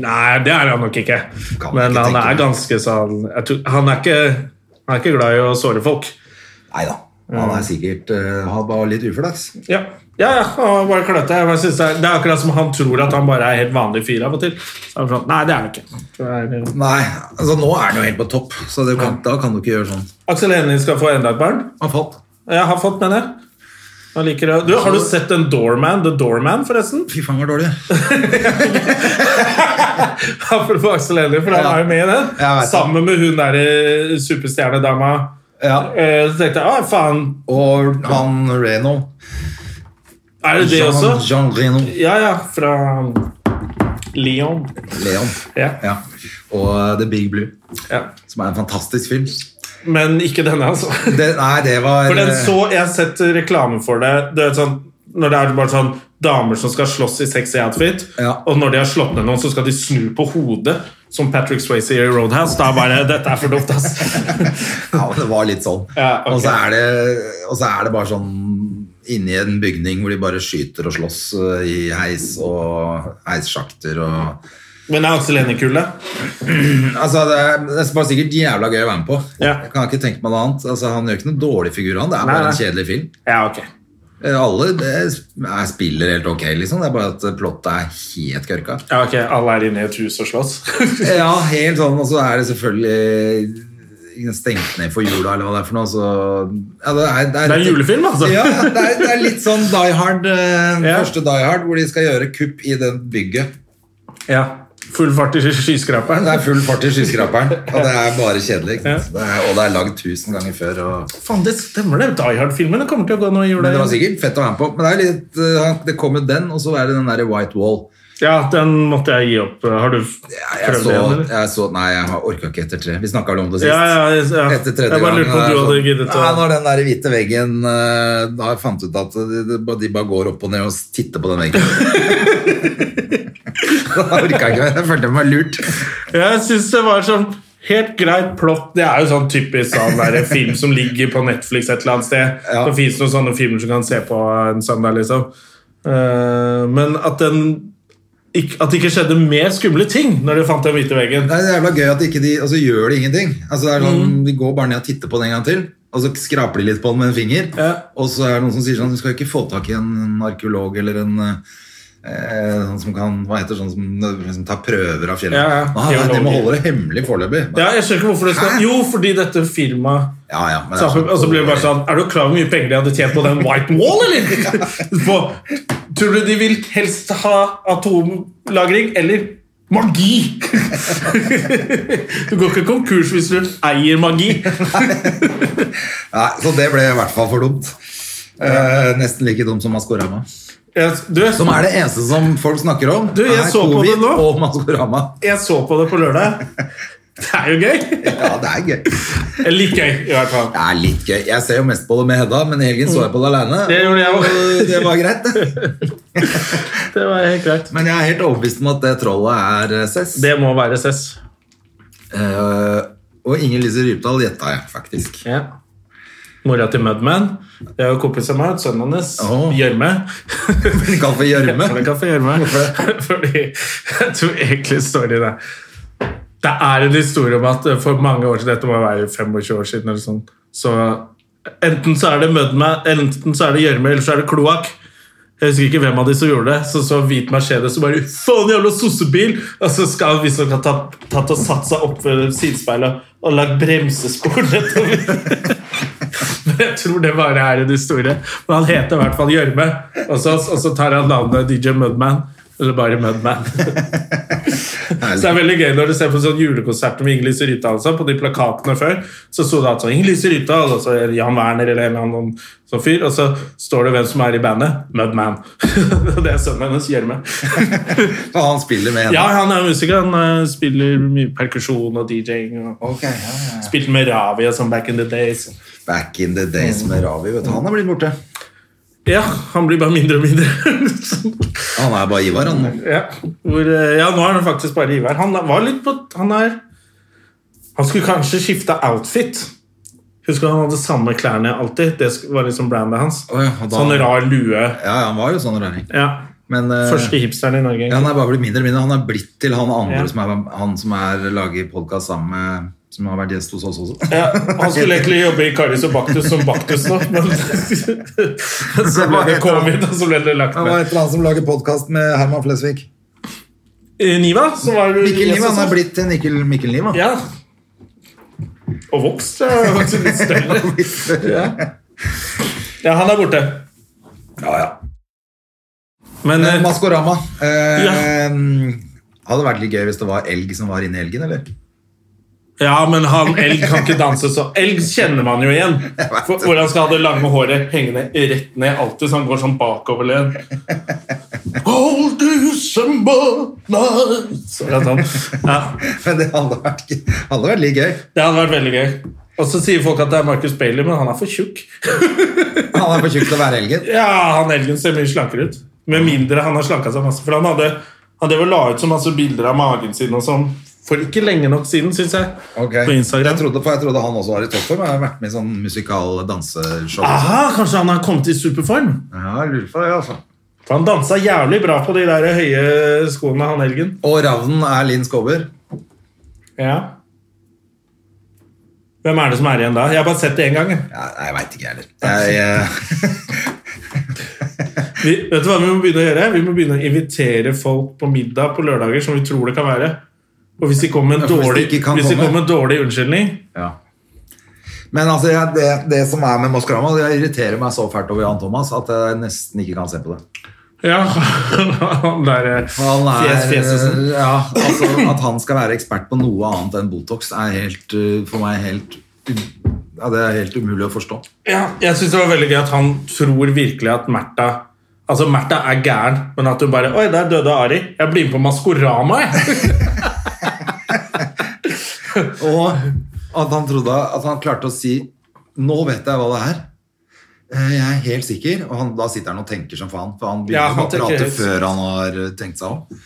S1: Nei, det er han nok ikke.
S2: Kan
S1: Men
S2: ikke
S1: han er
S2: tenke meg.
S1: ganske sånn jeg tror, han, er ikke, han er ikke glad i å såre folk.
S2: Nei da. Han er sikkert eh, Han var litt uflaks.
S1: Ja, ja, ja han var bare kløtte. Jeg bare synes det, er, det er akkurat som han tror at han bare er helt vanlig fyr av og til. Så er han sånn, Nei, det er han ikke. Det er-
S2: Nei, altså nå er han jo helt på topp, så det kan, da kan du ikke gjøre sånn.
S1: Aksel Hennie skal få enda et barn.
S2: Han falt.
S1: Jeg har fått, mener jeg. Han liker det. Du, har du sett den Doorman? The Doorman, forresten?
S2: Fy faen, var dårlig.
S1: Apropos Aksel Hennie, for han
S2: Ja.
S1: er jo med i
S2: Jeg
S1: den.
S2: vet det.
S1: Sammen med hun derre superstjernedama.
S2: Ja.
S1: Eh, Så tenkte jeg ah, faen,
S2: Og han Reno.
S1: er det det
S2: Jean,
S1: også?
S2: Jean Reno.
S1: Ja, ja. Fra Leon.
S2: Leon.
S1: Ja.
S2: Ja. Og eh, The Big Blue,
S1: ja.
S2: som er en fantastisk film.
S1: Men ikke denne, altså.
S2: Det, nei, det var
S1: For den
S2: eh,
S1: så, Jeg har sett reklame for det. Du vet sånn, når det er bare sånn damer som skal slåss i sexy outfit,
S2: Ja.
S1: og når de har slått ned noen, så skal de snu på hodet, som Patrick Swayze i Roadhouse. Da er bare Dette er for dumt, ass.
S2: Ja, det var litt sånn.
S1: Ja, ok.
S2: og, så er det, og så er det bare sånn inni en bygning hvor de bare skyter og slåss eh, i heis og heissjakter og
S1: Men er Aksel Hennie kul, da?
S2: Altså, det er, det er bare sikkert jævla gøy å være med på.
S1: Ja.
S2: Jeg kan ikke tenke meg noe annet. Altså, han gjør ikke noen dårlig figur, han. Det er
S1: Nei,
S2: bare
S1: nei.
S2: en kjedelig film.
S1: Ja, ok.
S2: Eh, Alle det er, spiller helt ok, liksom. Det er bare at plottet er helt kørka.
S1: Ja, ok, Alle er inne i et hus og slåss?
S2: Ja, helt sånn. Og så er det selvfølgelig stengt ned for jula, eller hva det er for noe. Så, ja, det, er,
S1: Det er en julefilm, altså.
S2: Ja, det er, det er litt sånn Die Hard, eh,
S1: Ja.
S2: første Die Hard, hvor de skal gjøre kupp i det bygget.
S1: Ja. Full fart i skyskraperen.
S2: Det er full fart i skyskraperen, og det er bare kjedelig. ikke sant? Det er, og det er lagd tusen ganger før. Og,
S1: Faen, det stemmer det. Die Hard-filmene kommer til å gå nå i jula.
S2: men det var
S1: igjen.
S2: sikkert fett å være med på. Men det, er litt, eh, det kom jo den, og så er det den derre White Wall.
S1: Ja, den måtte jeg gi opp. Har du prøvd
S2: Ja, jeg, så,
S1: det? eller?
S2: jeg så Nei, jeg har orka ikke etter tre. Vi snakka vel om det sist.
S1: Ja, ja, ja.
S2: Etter tredje
S1: jeg bare lurte
S2: gangen,
S1: på om
S2: det er
S1: du hadde
S2: sånn-
S1: giddet
S2: Nei,
S1: å
S2: Når den der hvite veggen eh, Da har jeg fant ut at de, de bare- de bare går opp og ned og titter på den veggen. da orka jeg ikke mer. Jeg følte meg lurt.
S1: Jeg syns det var sånn helt greit plott. Det er jo sånn typisk sånn der film som ligger på Netflix et eller annet sted.
S2: Ja.
S1: Det fins noen sånne filmer som kan se på en søndag, liksom. Eh, men at den ikk- at det ikke skjedde mer skumle ting når de fant den hvite veggen.
S2: Det er jævla gøy at ikke de altså, gjør de ingenting. Altså, det er sånn,
S1: Mm.
S2: De går bare ned og titter på den en gang til. Og så skraper de litt på den med en finger.
S1: Ja.
S2: Og så er det noen som sier sånn Du skal ikke få tak i en arkeolog eller en eh, sånn som kan, hva heter det, sånn som, som tar prøver av fjellet.
S1: Ja, ja.
S2: Ah, nei, de må
S1: Geologer.
S2: holde det hemmelig foreløpig.
S1: Ja, jeg skjønner ikke hvorfor det skal
S2: Hæ?
S1: Jo, fordi dette firmaet
S2: Ja, ja, men det er
S1: Så-
S2: sånn-
S1: Og så blir det bare sånn Er du klar over hvor mye penger de hadde tjent på den white wall, eller? På, tror du de vil helst ha atomlagring eller magi? Du går ikke konkurs hvis du eier magi.
S2: Nei, så det ble i hvert fall for dumt. Eh, nesten like dumt som Maskorama.
S1: Jeg, du,
S2: Som er det eneste som folk snakker om.
S1: Du, jeg
S2: er
S1: så på
S2: covid
S1: det nå.
S2: Og Maskorama.
S1: jeg så på det på lørdag. Det er jo gøy.
S2: Ja, det er gøy.
S1: Eller litt gøy, i hvert fall.
S2: Det er litt gøy. Jeg ser jo mest på det med Hedda, men i helgen så jeg på det alene.
S1: Det gjorde jeg også.
S2: Og Det var greit, det.
S1: Det var helt greit.
S2: Men jeg er helt overbevist om at det trollet er eh, Cess.
S1: Det må være CES.
S2: Eh, og Inger Lise Rypdal gjetta jeg, faktisk.
S1: Ja. Mora til Mudman. Det er jo kompis av meg. Sønnen hans.
S2: Åh.
S1: Gjørme.
S2: Hun kan få gjørme.
S1: Ja, det kan få gjøre meg. Fordi jeg tror egentlig storyen er Det er en historie om at for mange år siden, dette må være 25 år siden, eller sånn, så enten så er det Mudma, enten så er det gjørme, eller så er det kloakk. Jeg husker ikke hvem av de som gjorde det. Så så hvit Mercedes og bare 'Faen, jævla sossebil!' Og så skal han visstnok ha tatt, tatt og satt seg opp ved sidespeilet og lagd bremsespor nedover. Men jeg tror det bare er en historie. Men han heter i hvert fall Gjørme. Og så, og så tar han navnet DJ Mudman. Eller bare Mudman. Så det er veldig gøy når du ser på sånn julekonsert med Ingelise Rypdal og sånn, på de plakatene før, så sto det altså Ingelise Rypdal og så er det Jan Werner eller en eller annen sånn fyr, og så står det hvem som er i bandet. Mudman. Og det er sønnen hennes, Gjørme.
S2: Og han spiller med
S1: Ja,
S2: Hedda.
S1: han er musiker. Han eh, spiller mye perkusjon og DJ-ing. og
S2: Ok, ja, ja.
S1: Spilte med Ravi og sånn back in the days.
S2: Back in the days med Ravi. Vet du. Han er blitt borte.
S1: Ja, han blir bare mindre og mindre.
S2: Han er bare Ivar, han nå.
S1: Ja, hvor, eh, ja nå er han faktisk bare Ivar. Han var litt på Han er Han skulle kanskje skifte outfit. Husker du han hadde samme klærne alltid? Det sk- var liksom brandet hans.
S2: Å ja, og da-
S1: Sånn rar lue.
S2: Ja, ja, han var jo sånn raring.
S1: Ja.
S2: Men eh,
S1: Mm. Første hipsteren i Norge.
S2: ja, han er bare blitt mindre og mindre. Han er blitt til han andre
S1: Ja.
S2: som er, han som er lager podkast sammen med Som har vært gjest hos oss også.
S1: Ja, han skulle egentlig jobbe i Karius og Baktus som Baktus nå, men så ble det covid, og så ble det lagt
S2: Han
S1: ned.
S2: var et eller annet som lager podkast med Herman Flesvig.
S1: Eh, Niva, som var
S2: Mikkel Niva. Han er blitt til Mikkel, Mikkel Niva.
S1: Ja. Og vokst. Ja, vokst litt større. Ja. ja, han er borte.
S2: Ja, ja.
S1: Men
S2: Eh,
S1: eh,
S2: Maskorama. Eh, Hadde vært litt gøy hvis det var elg som var inne i elgen, eller?
S1: Ja, men han, elg kan ikke danse så Elg kjenner man jo igjen. For, hvor han skal ha det lange håret hengende rett ned alltid, så han går sånn bakoverlent. Gold December night Så er det sånn. ja,
S2: Men det hadde vært, hadde vært litt gøy.
S1: Det hadde vært veldig gøy. Og så sier folk at det er Marcus Bailey, men han er for tjukk.
S2: Han er for tjukk til å være elgen.
S1: Ja, han elgen ser mye slankere ut. Med mindre han har slanka seg masse. For han hadde han drev og la ut så masse bilder av magen sin og sånn for ikke lenge nok siden, syns jeg.
S2: Ok.
S1: På Instagram.
S2: Jeg trodde, for jeg trodde han også var i toppform. Jeg har vært med i sånn musikal danseshow. og sånn.
S1: Aha, kanskje han har kommet i superform?
S2: Ja, jeg lurer på det, altså.
S1: For han dansa jævlig bra på de der høye skoene, han Elgen.
S2: Og ravnen er Linn Skåber.
S1: Ja. Hvem er det som er igjen da? Jeg har bare sett det én gang. jeg.
S2: Ja, nei, jeg veit ikke, jeg heller. Jeg,
S1: Vi, vet du hva vi må begynne å gjøre? Vi må begynne å invitere folk på middag på lørdager som vi tror det kan være. Og hvis de kommer med en
S2: Ja, for hvis de
S1: dårlig,
S2: ikke kan
S1: hvis de
S2: komme.
S1: kommer med en dårlig unnskyldning,
S2: eh, ja. Men altså, jeg, det, det som er med Maskorama, det irriterer meg så fælt over Jan Thomas at jeg nesten ikke kan se på det.
S1: Ja, han der eh,
S2: Han er,
S1: fjes, fjesesen.
S2: ja, altså, at han skal være ekspert på noe annet enn Botox, er helt, uh, for meg helt um, ja, Det er helt umulig å forstå.
S1: Ja, jeg synes det var veldig gøy at han tror virkelig at Märtha Altså, Märtha er gæren, men at hun bare Oi, der døde Ari. Jeg blir med på Maskorama, jeg.
S2: Og at han trodde at han klarte å si Nå vet jeg hva det er. Eh, Jeg er helt sikker. Og han, da sitter han og tenker som faen. For han begynner
S1: Ja, han
S2: å
S1: tenker
S2: prate
S1: høyt.
S2: før han har eh, tenkt seg om.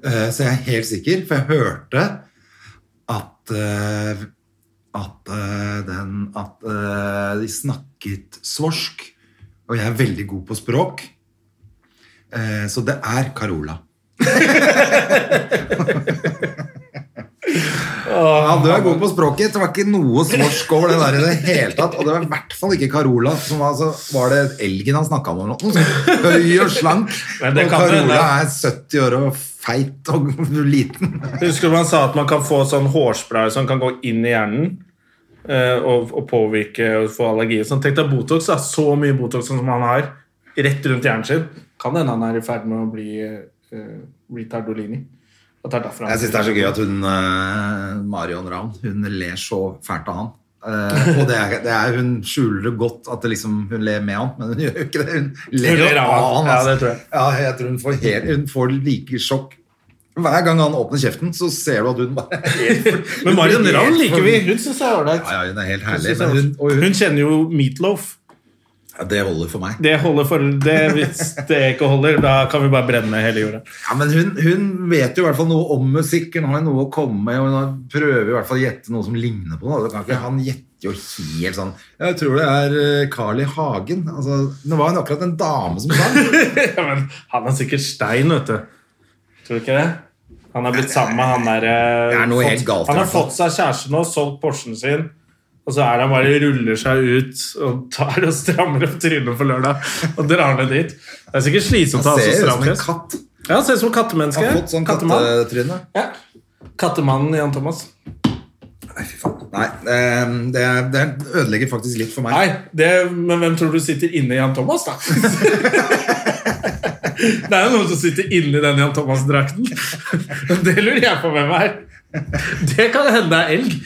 S2: Eh, Så jeg er helt sikker, for jeg hørte at eh, at eh, den At eh, de snakket svorsk. Og jeg er veldig god på språk. Eh, Så det er Carola. Ja, du er god på språket. Det var ikke noe svorsk over det der i det hele tatt. Og det var i hvert fall ikke Carola, som altså, var det elgen han snakka om. eller noe. Høy og slank.
S1: Nei,
S2: Og
S1: det kan det
S2: Carola
S1: hende.
S2: er 70 år og feit og liten.
S1: Husker du man sa at man kan få sånn hårspray som kan gå inn i hjernen? eh, Og, og påvirke og få allergi og sånn. Tenk deg Botox. Da. Så mye Botox som han har rett rundt hjernen sin. Kan hende han er i ferd med å bli eh, retardolini. At det er derfor han
S2: Jeg syns det er så gøy at hun eh, Marion Ravn hun ler så fælt av han. Eh, og det er, det er, hun skjuler det godt at det liksom, hun ler med han, men hun gjør jo ikke det. Hun ler,
S1: Hun ler
S2: av han.
S1: Ja,
S2: altså.
S1: det tror jeg.
S2: Ja, jeg tror hun får, helt, hun får like sjokk. Hver gang han åpner kjeften, så ser du at hun bare er helt for-
S1: Men Marion
S2: hun blir helt
S1: Ravn liker
S2: for-
S1: vi. Hun syns jeg er ålreit.
S2: Ja, ja, hun er helt
S1: Hun
S2: herlig.
S1: synes jeg
S2: Men hun,
S1: er-
S2: og hun,
S1: Hun kjenner jo Meatloaf.
S2: ja, det holder for meg.
S1: Det holder for det, Hvis det ikke holder, da kan vi bare brenne hele jorda.
S2: Ja, men hun, hun vet jo i hvert fall noe om musikk. Hun har jo noe å komme med. og Hun har- prøver i hvert fall å gjette noe som ligner på noe. Det kan ikke, han gjetter jo helt sånn Jeg tror det er eh, Carl I. Hagen. Altså, det var jo akkurat en dame som sang.
S1: Ja, men han er sikkert stein, vet du. Tror du ikke det? Han er blitt sammen med han der eh,
S2: Det er noe
S1: fått-
S2: helt galt,
S1: Han har
S2: i hvert fall.
S1: fått seg kjæreste nå, solgt Porschen sin. Og så er det han bare ruller seg ut og tar og strammer opp trynet på lørdag. Og drar ned dit. Det er sikkert slitsomt å
S2: Han
S1: ha så
S2: ser ut
S1: stram
S2: som en
S1: fjes.
S2: katt.
S1: Ja, han ser ut som kattemenneske.
S2: Han har fått sånn
S1: Kattemann.
S2: kattetryne.
S1: Ja. Kattemannen Jan Thomas.
S2: Nei, fy faen. Nei, eh, det, det ødelegger faktisk litt for meg.
S1: Nei, det, men hvem tror du sitter inne i Jan Thomas, da? det er jo noen som sitter inni den Jan Thomas-drakten. Det lurer jeg på hvem er. Det kan hende er elg.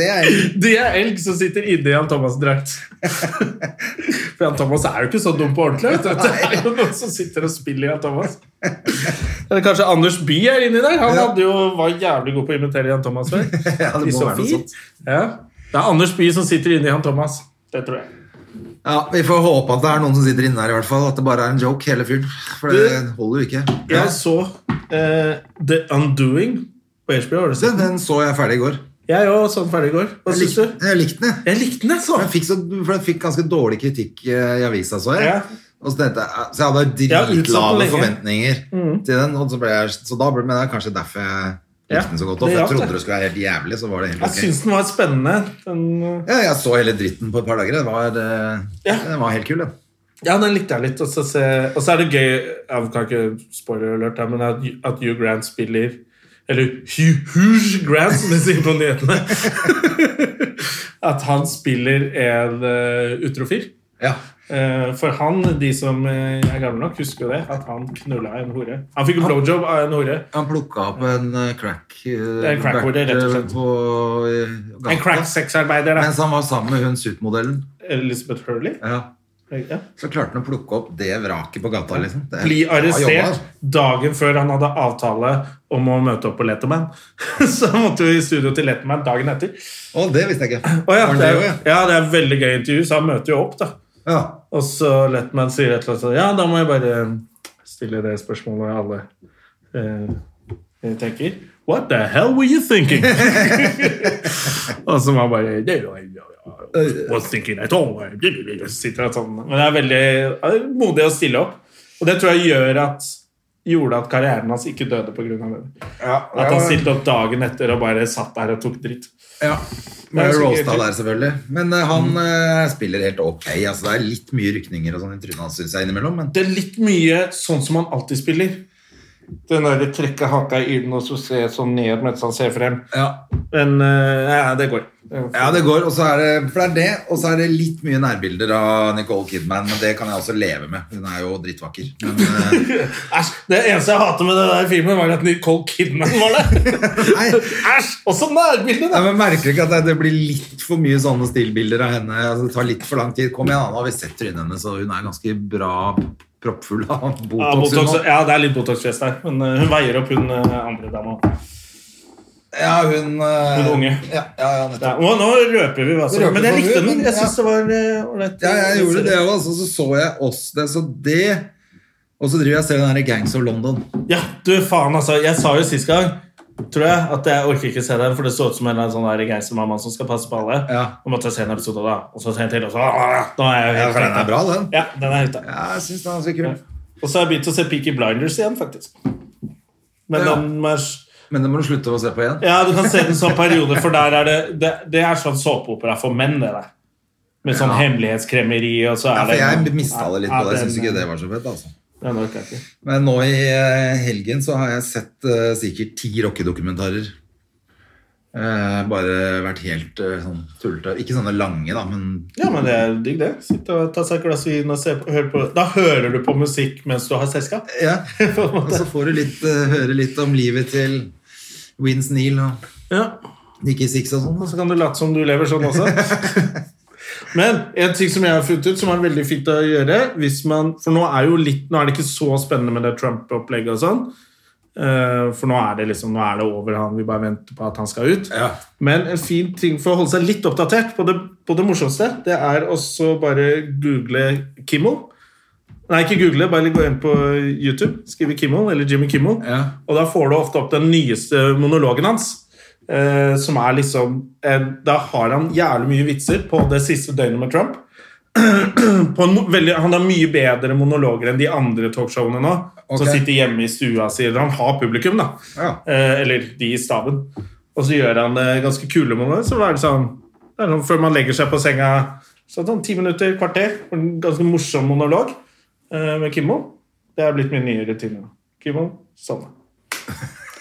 S2: Det er,
S1: De er elg som sitter inni Jan Thomas-drakt. For Jan Thomas er jo ikke så dum på ordentlig. Vet du. Det er jo noen som sitter og spiller Jan Thomas. Eller kanskje Anders Bye er inni der? Han
S2: Ja.
S1: hadde jo, var jævlig god på å imitere Jan Thomas før.
S2: ja, det
S1: I
S2: må være noe
S1: Sofie.
S2: sånt.
S1: Ja. Det er Anders Bye som sitter inni Jan Thomas. Det tror jeg.
S2: Ja, Vi får håpe at det er noen som sitter inne der, i hvert fall. At det bare er en joke, hele fyren. For det holder jo ikke. Ja.
S1: Jeg så eh, The Undoing på HBO. Har du sett
S2: Den, den så jeg ferdig i går.
S1: Jeg òg så den ferdig i går. Hva
S2: Jeg
S1: syns
S2: likte,
S1: du?
S2: jeg likte den, jeg.
S1: Jeg likte den, altså. jeg, så.
S2: For jeg fikk, så, for jeg fikk ganske dårlig kritikk eh, i avisa, så jeg.
S1: Ja.
S2: Og så, tenkte jeg, eh, så jeg hadde
S1: Ja, utsatt den
S2: dritlave
S1: lenge. Mm.
S2: forventninger til den. Og så ble jeg, så da ble, men det er kanskje derfor jeg likte
S1: Ja,
S2: den så godt.
S1: det
S2: Og for jeg
S1: hjalp det.
S2: trodde det skulle være helt jævlig, så var det helt
S1: Jeg
S2: ok.
S1: syns den var spennende. Den, eh,
S2: Ja, jeg så hele dritten på et par dager. Det var, eh,
S1: Ja.
S2: den var helt kul, den.
S1: ja, den likte jeg litt. Og så, se, og så er det gøy Jeg kan ikke spoiler alert, her, men at, at Hugh Grant spiller Eller Hugh Hugh Grant, som de sier på nyhetene. at han spiller en eh, utrofil.
S2: Ja.
S1: Eh, For han, de som eh, er gamle nok, husker jo det, at han knulla en hore. Han fikk en blowjob av en hore.
S2: Han plukka opp en eh, crack eh,
S1: En crackhore,
S2: bert,
S1: rett og slett.
S2: eh, På, eh, gata,
S1: En crack sexarbeider, da.
S2: Mens han var sammen med hun suitmodellen.
S1: Elizabeth Hurley.
S2: Ja.
S1: Ja.
S2: Så klarte han å plukke opp det vraket på gata, liksom. Det er
S1: Bli
S2: bra jobba.
S1: arrestert dagen før han hadde avtale om å møte opp på Letterman. Så han måtte jo i studio til Letterman dagen etter.
S2: Å, det visste jeg ikke.
S1: Å ja,
S2: Var han
S1: det er,
S2: det også, ja?
S1: ja, det er et veldig gøy intervju, så han møter jo opp, da.
S2: Ja.
S1: Og så Letterman sier et eller annet sånn Ja, da må jeg bare stille det spørsmålet alle eh, tenker. What the hell were you thinking? og så var han bare Was thinking at all. Sitter han sånn. Men det er veldig ja, det er modig å stille opp. Og det tror jeg gjør at gjorde at karrieren hans ikke døde pga. det. At han stilte opp dagen etter og bare satt der og tok dritt.
S2: Ja. Med
S1: Det er så
S2: Roastad
S1: gøy.
S2: der, selvfølgelig. Men eh, han eh, spiller helt ok. Altså, det er litt mye rykninger og sånn i trynet hans, syns jeg, innimellom. Men
S1: Det er litt mye sånn som han alltid spiller. Den der trekke haka i den og så se sånn ned mens han ser frem.
S2: ja.
S1: Men eh, ja, det går.
S2: Ja, det går, og så er det, for det er det, og så er det litt mye nærbilder av Nicole Kidman, men det kan jeg også leve med. Hun er jo drittvakker. Men, eh,
S1: Æsj! Det eneste jeg hater med den der filmen, var at Nicole Kidman var der.
S2: nei,
S1: Æsj! Også nærbildet!
S2: nei,
S1: da.
S2: men merker du ikke at det, det blir litt for mye sånne stillbilder av henne? Altså, det tar litt for lang tid. Kom igjen, nå har vi sett trynet hennes, og hun er ganske bra proppfull av Botox.
S1: Ja,
S2: hun
S1: botox,
S2: også.
S1: ja, det er litt Botox-fest der, men eh, hun veier opp hun eh, andre dama.
S2: ja, hun eh,
S1: Hun unge.
S2: Ja, ja, ja,
S1: Ja,
S2: nettopp.
S1: nå, nå røper vi, altså.
S2: Vi røper
S1: men jeg
S2: for
S1: likte
S2: mye,
S1: den.
S2: men
S1: Jeg
S2: ja.
S1: syns det var eh, ålreit.
S2: Ja, jeg gjorde det òg, så så jeg oss det. Så det Og så driver jeg og ser den der Gangs of London.
S1: Ja, du faen, altså. Jeg sa jo sist gang, tror jeg, at jeg orker ikke se den, for det så ut som en eller annen sånn der gangstermamma som skal passe på alle.
S2: Ja.
S1: Og måtte jeg se en episode da. Og så se en til, og så ah, Nå er jeg
S2: Ja,
S1: helt
S2: for den er bra, den.
S1: Ja, den er ute.
S2: Ja, jeg syns den er ganske kul.
S1: Og så har jeg begynt å se Peaky Blinders igjen, faktisk. Men
S2: Ja.
S1: den er
S2: Men det må du slutte å se på igjen.
S1: Ja, du kan se den sånn periode, for der er det Det, det er sånn såpeopera for menn, det der. Med sånn
S2: Ja.
S1: hemmelighetskremmeri og så
S2: Ja,
S1: er
S2: for jeg
S1: det
S2: mista det litt
S1: Ja,
S2: på det. Jeg
S1: den-
S2: syns ikke det var så fett. altså.
S1: Ja, nå orker jeg ikke.
S2: Men nå i eh, helgen så har jeg sett eh, sikkert ti rockedokumentarer. Eh, bare vært helt eh, sånn tullete. Ikke sånne lange, da, men
S1: Ja, men det er digg, det. Sitte og ta seg et glass vin og se på, høre på Da hører du på musikk mens du har selskap.
S2: Ja.
S1: På en
S2: Og
S1: måte.
S2: så får du litt, eh, høre litt om livet til Vince Neil og
S1: Ja.
S2: Nikki Six og sånn.
S1: Og så kan du late som du lever sånn også. Men en ting som jeg har funnet ut som er veldig fint å gjøre hvis man, For nå er, jo litt, nå er det ikke så spennende med det Trump-opplegget og sånn. Eh, For nå er det liksom, nå er det over han. Vi bare venter på at han skal ut.
S2: Ja.
S1: Men en fin ting for å holde seg litt oppdatert på det, på det morsomste, det er også bare google Kimmel. Nei, ikke google, bare gå inn på YouTube, skrive Kimmel eller Jimmy Kimmel.
S2: Ja.
S1: Og da får du ofte opp den nyeste monologen hans. Eh, som er liksom eh, Da har han jævlig mye vitser på det siste døgnet med Trump. på en, mo- veldig, han har mye bedre monologer enn de andre talkshowene nå.
S2: Ok.
S1: Som sitter hjemme i stua si. eller Han har publikum, da.
S2: Ja.
S1: Eh, eller de i staben. Og så gjør han eh, ganske kule momenter. Så er det sånn, det er sånn før man legger seg på senga så er det sånn ti minutter, kvarter. og En ganske morsom monolog eh, med Kimmo. Det er blitt min nye rutine. nå. Kimmo, sånn.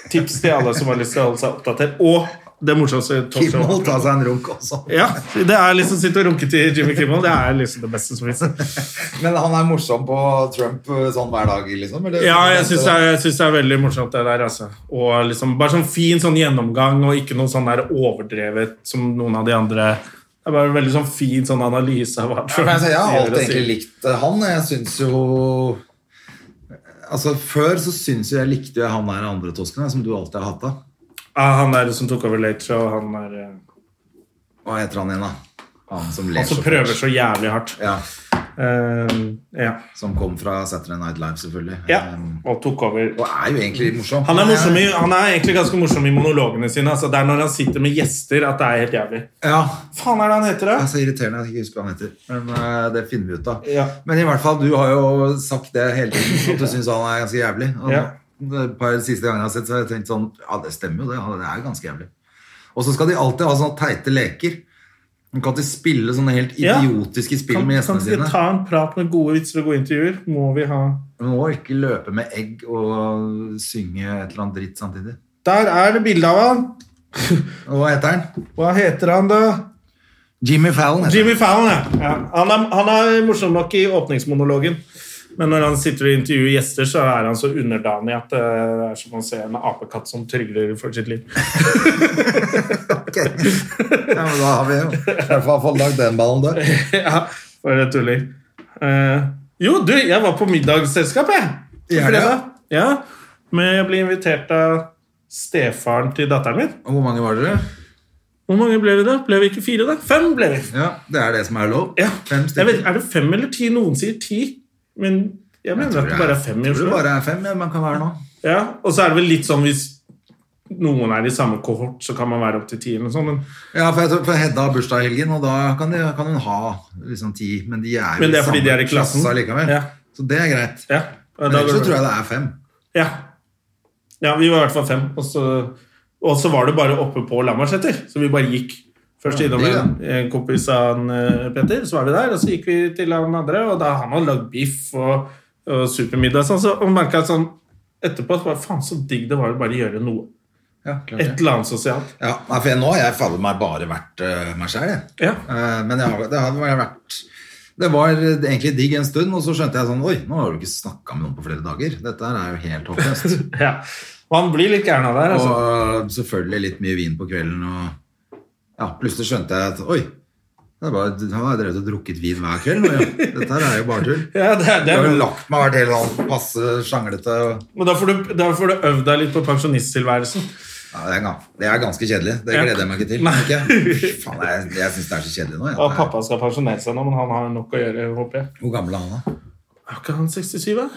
S1: Tips til alle som har lyst til å holde seg oppdatert. Og det morsomste
S2: Kimmel
S1: talkshowet.
S2: ta seg en runk også.
S1: Ja, det er liksom sitte og runke til Jimmy Kimmel. Det er liksom det beste som fins.
S2: Men han er morsom på Trump eh, sånn hver dag, liksom? eller?
S1: Ja, jeg syns det, er- jeg synes det er veldig morsomt, det der. Altså. Og liksom, bare sånn fin sånn gjennomgang, og ikke noe sånn der overdrevet som noen av de andre. Det er bare en veldig sånn fin sånn analyse av hva
S2: Ja, for jeg, sier, jeg har
S1: gjør og
S2: alltid
S1: sier.
S2: egentlig likt eh, han. Jeg syns jo Altså, Før så syns jo jeg likte jeg han der andre tosken, jeg, som du alltid har hata.
S1: Ja, han der som tok over Late Show, han er eh,
S2: Hva heter han igjen, da? Han som ler
S1: Han som
S2: så
S1: prøver
S2: fælt.
S1: så jævlig hardt.
S2: Ja,
S1: Eh, ja.
S2: Som kom fra Saturday Night Live, selvfølgelig.
S1: ja.
S2: Um,
S1: Og tok over
S2: og er jo egentlig morsom.
S1: han er, morsom i, han er egentlig ganske morsom i monologene sine. Altså, det er når han sitter med gjester at det er helt jævlig.
S2: Ja,
S1: Faen er det han heter,
S2: det
S1: da?
S2: er så irriterende at jeg ikke husker hva han heter. Men eh, det finner vi ut av.
S1: Ja.
S2: Men i hvert fall, du har jo sagt det hele tiden, at du syns han er ganske jævlig. Og
S1: Ja.
S2: de par siste gangene jeg har sett, så har jeg tenkt sånn Ja, det stemmer jo, det. Han er jo ganske jævlig. Og så skal de alltid ha sånne teite leker. De kan alltid spille sånne helt
S1: Ja.
S2: idiotiske spill
S1: Kan,
S2: med
S1: kan
S2: gjestene
S1: ikke
S2: sine.
S1: ta en prat med gode vitser og gode intervjuer? Må vi ha
S2: Man må ikke løpe med egg og synge et eller annet dritt samtidig.
S1: Der er det bilde av han.
S2: Og hva heter han?
S1: Hva heter han, da?
S2: Jimmy Fallon. heter
S1: Jimmy Fallon, ja. ja. Han, er, han er morsom nok i åpningsmonologen. Men når han sitter og intervjuer gjester, så er han så underdanig at eh, det er som å se en apekatt som trygler for sitt liv.
S2: han. Ok. Ja, men da har vi jo i hvert fall fått lagd den ballen der.
S1: ja, bare tuller. Eh, jo, du, jeg var på middagsselskap, jeg. På
S2: I helga?
S1: fredag. Ja, men jeg ble invitert av stefaren til datteren min.
S2: Og hvor mange var dere?
S1: Hvor mange ble vi da? Ble vi ikke fire, da? Fem ble vi.
S2: Ja, Det er det som er lov.
S1: Ja.
S2: Fem
S1: Jeg
S2: stykker.
S1: vet, er det fem eller ti? Noen sier ti, men jeg mener
S2: tror
S1: at det
S2: jeg-
S1: bare er fem i
S2: Tror
S1: Oslo.
S2: det bare er fem ja, man kan være nå.
S1: Ja, og så er det vel litt sånn hvis noen er i samme kohort, så kan man være opptil ti eller noe sånt, men,
S2: Ja, for, jeg, tror- for Hedda har bursdag i helgen, og da kan, de, kan hun ha liksom ti. Men de er jo
S1: men det er fordi
S2: samme
S1: de er i klassen.
S2: klasse allikevel.
S1: Ja,
S2: Så det er greit.
S1: ja. Og
S2: Men
S1: da
S2: ellers
S1: går
S2: så
S1: det-
S2: tror jeg det er fem.
S1: Ja. ja, vi var i hvert fall fem. Og så, og så var det bare oppe på Lambertseter, så vi bare gikk. Først
S2: Ja,
S1: innom
S2: det, ja.
S1: en, en kompis av han, eh, Petter, så var vi der, og så gikk vi til han andre, og da han hadde lagd biff og, og supermiddag og sånn, så og merka jeg sånn etterpå at bare, faen så digg det var å bare gjøre noe.
S2: Ja, klart
S1: Et
S2: det.
S1: eller annet sosialt.
S2: Ja, nei, for jeg, nå har jeg fader meg bare vært eh, meg sjæl, jeg.
S1: Ja.
S2: Eh, men jeg, har- det har jeg har vært Det var egentlig digg en stund, og så skjønte jeg sånn Oi, nå har du ikke snakka med noen på flere dager. Dette her er jo helt håpløst.
S1: ja. Man blir litt gæren av det her, altså.
S2: Og eh, selvfølgelig litt mye vin på kvelden. Og ja, plutselig skjønte jeg at oi, det er bare, han har drevet og drukket vin hver kveld. nå, Ja. Dette her er jo bare tull.
S1: Ja, det, er- det
S2: Jeg
S1: er
S2: har
S1: bra.
S2: jo lagt meg og vært helt sånn passe sjanglete. og-
S1: Men da får, du, da får du øvd deg litt på pensjonisttilværelsen.
S2: Ja, det, er, ga- det er ganske kjedelig. Det
S1: Ja.
S2: gleder jeg meg ikke til.
S1: Nei.
S2: Ikke? Faen, jeg jeg syns det er så kjedelig nå.
S1: Og
S2: Jeg.
S1: pappa skal pensjonere seg nå, men han har nok å gjøre, håper jeg.
S2: Hvor gammel er han da?
S1: Er ikke han 67, da?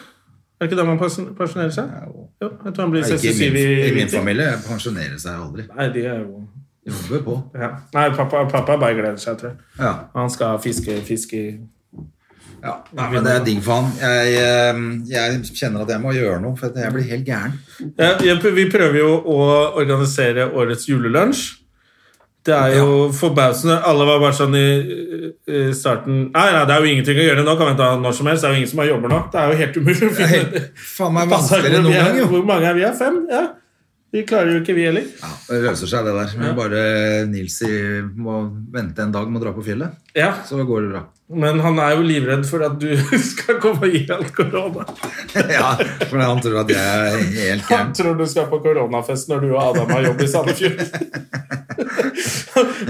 S1: Er ikke da man pension- pensjonerer seg?
S2: jo.
S1: Jo, jeg tror han blir
S2: Nei, Ikke i
S1: 67 i
S2: min, i min
S1: vinter.
S2: familie. Jeg pensjonerer seg aldri.
S1: Nei, de er jo
S2: Jobber på.
S1: ja. Nei, pappa, pappa bare gleder seg, tror jeg.
S2: Ja.
S1: Han skal fiske, fiske
S2: ja. Nei, men det er digg for han. Jeg, eh, jeg kjenner at jeg må gjøre noe, for jeg blir helt gæren.
S1: ja, jeg pr- Vi prøver jo å organisere årets julelunsj. Det er jo forbausende. Alle var bare sånn i, i starten Nei, nei, det er jo ingenting å gjøre nå. Kan vi ta når som helst. Det er jo ingen som har jobber nå. Det er jo helt umulig å
S2: Det er
S1: finne
S2: helt, faen meg
S1: Passer ikke når vi
S2: vanskeligere enn noen
S1: er-
S2: gang, jo.
S1: Hvor mange er vi? Er fem? Ja. De klarer jo ikke, vi heller.
S2: Ja, det løser seg, det der. Men bare eh, Nils i, må vente en dag med å dra på fjellet,
S1: Ja,
S2: så går det bra.
S1: Men han er jo livredd for at du skal komme og gi han korona.
S2: ja, for han tror at jeg er helt
S1: Han
S2: gæren.
S1: tror du skal på koronafest når du og Adam har jobb i Sandefjord.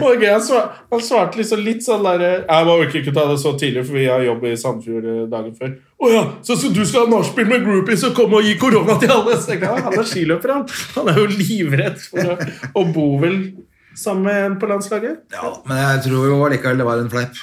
S1: Og gøy, han, svar, han svarte liksom litt sånn derre Jeg bare orker ikke ta det så tidlig, for vi har jobb i Sandefjord eh, dagen før. Å ja, så skal du skal ha nachspiel med groupies og komme og gi korona til alle? Så jeg, tenkte, ja, han er skiløper, han. Han er jo livredd for å, å bo vel sammen med en på landslaget.
S2: Ja, men jeg tror jo likevel det var en fleip.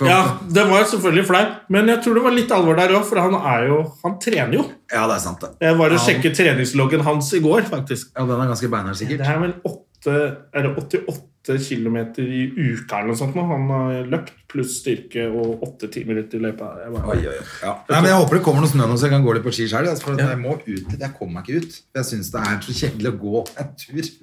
S2: For-
S1: Ja, det var selvfølgelig fleip, men jeg tror det var litt alvor der òg, for han er jo Han trener jo.
S2: ja, det er sant, det.
S1: Jeg var og
S2: Ja.
S1: sjekket treningsloggen hans i går, faktisk.
S2: Ja, den er ganske beinhard, sikkert.
S1: Det er vel åtte, er det 88 km i uka eller noe sånt nå. Han har løpt pluss styrke og åtte timer ut i løypa. Jeg var-
S2: Oi, oi, oi. Ja. Nei, men Jeg håper det kommer noe snø nå, så jeg kan gå litt på ski sjøl. For at jeg må ut litt. Jeg kommer meg ikke ut. Jeg syns det er så kjedelig å gå en tur.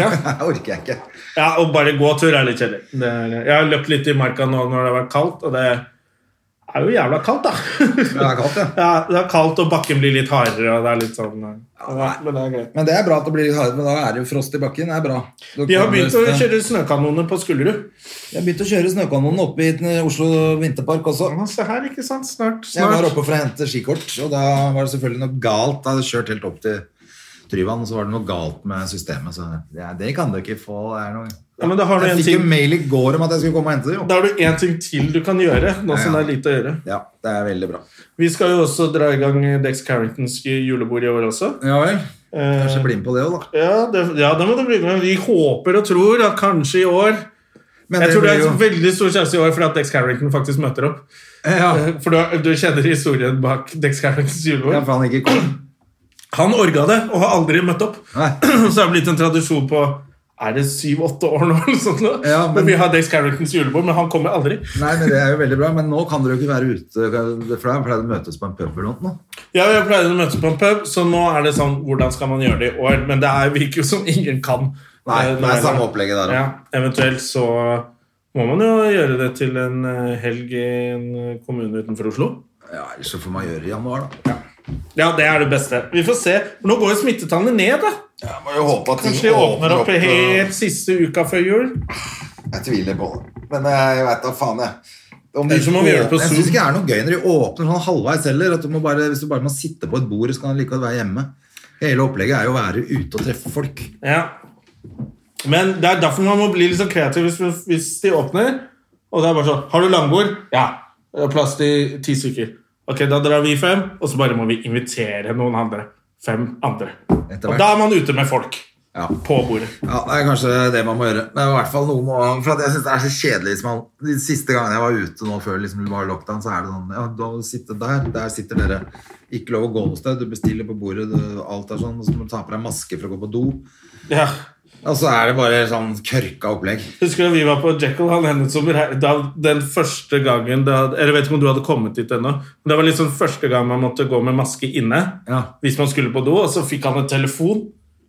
S1: Ja.
S2: Det orker jeg ikke.
S1: Ja, og bare gåtur er litt kjedelig. Det er- Jeg har løpt litt i marka nå når det har vært kaldt, og det er jo jævla kaldt, da.
S2: Men det er kaldt, ja.
S1: Ja, det er kaldt, og bakken blir litt hardere, og det er litt sånn ja, Men det er greit.
S2: Men det er bra at det blir litt hardere, men da er det jo frost i bakken. Det er bra. Da
S1: De har
S2: kan
S1: begynt å
S2: du-
S1: kjøre snøkanoner på Skullerud.
S2: Jeg begynte å kjøre snøkanonen oppe i eh, Oslo vinterpark også.
S1: Ja, Se her, ikke sant? Snart.
S2: Jeg var
S1: snart.
S2: oppe for å hente skikort, og da var det selvfølgelig noe galt. Da hadde jeg kjørt helt opp til Tryvann, og så var det noe galt med systemet. Så ja, det kan du ikke få. Det er noe...
S1: Ja, men da har du
S2: Jeg
S1: en
S2: fikk jo
S1: ting
S2: mail i går om at jeg skulle komme og hente det, jo.
S1: da har du en ting til du kan gjøre, nå som det
S2: Ja, ja.
S1: er lite å gjøre.
S2: Ja, det er veldig bra.
S1: Vi skal jo også dra i gang Dex Carringtons julebord i år også.
S2: Ja vel.
S1: Eh,
S2: Kanskje bli med på det òg, da.
S1: ja, det, ja, det må du bli med. Vi håper og tror at kanskje i år
S2: Men
S1: Jeg tror det
S2: blir
S1: er
S2: jo-
S1: en veldig stor sjanse i år for at Dex Carrington faktisk møter opp.
S2: ja.
S1: Eh, For du, du kjenner historien bak Dex Carringtons
S2: ja,
S1: julebord.
S2: for han ikke kom.
S1: Han orga det og har aldri møtt opp.
S2: Nei.
S1: Så det har blitt en tradisjon på er det syv-åtte år nå? eller sånt nå?
S2: Ja,
S1: men,
S2: men-
S1: vi har Dex Carringtons julebord, men han kommer aldri.
S2: Nei, men det er jo veldig bra. Men nå kan dere jo ikke være ute, for da pleier de å møtes på en pub eller noe.
S1: Ja, jeg pleide å møtes på en pub, så nå er det sånn Hvordan skal man gjøre det i år? Men det er, virker jo som ingen kan.
S2: Nei,
S1: Eh,
S2: det
S1: nå
S2: er samme opplegget der
S1: Ja,
S2: òg.
S1: eventuelt så må man jo gjøre det til en eh, helg i en eh, kommune utenfor Oslo.
S2: Ja, ellers så får man gjøre det i januar, da.
S1: Ja, det er det beste. Vi får se. Nå går jo smittetallene ned, da.
S2: Ja, må jo håpe at ting
S1: Kanskje de Mm. åpner opp
S2: eh,
S1: helt siste uka før jul.
S2: Jeg tviler på det. Men eh, jeg veit da faen, jeg. Om de-
S1: Ellers så må vi gjøre det på
S2: jeg
S1: Zoom.
S2: syns ikke det er noe gøy når de åpner sånn halvveis heller. At du må bare, hvis du bare må sitte på et bord, så kan du likevel være hjemme. Hele opplegget er jo å være ute og treffe folk.
S1: Ja. Men det er derfor man må bli litt så kreativ hvis, hvis de åpner. Og det er bare sånn Har du langbord? Ja. Det er Plass til ti stykker. Ok, da drar vi fem, og så bare må vi invitere noen andre. Fem andre.
S2: Etter
S1: Og
S2: hvert.
S1: da er man ute med folk.
S2: Ja.
S1: På bordet.
S2: ja, Det er kanskje det man må gjøre. Men i hvert fall noe må For at jeg syns det er så kjedelig hvis man De siste gangene jeg var ute nå før liksom det var lockdown, så er det sånn Ja, da sitter der, der sitter dere. Ikke lov å gå noe sted. Du bestiller på bordet, du, alt er sånn. Og så må du ta på deg maske for å gå på do.
S1: Ja.
S2: Og så er det bare sånn kørka opplegg.
S1: Husker du vi var på Jekyll? Han hendet som rei- da, Den første gangen da, Eller jeg vet ikke om du hadde kommet dit ennå. men Det var liksom første gang man måtte gå med maske inne.
S2: Ja.
S1: hvis man skulle på do, og så fikk han en telefon.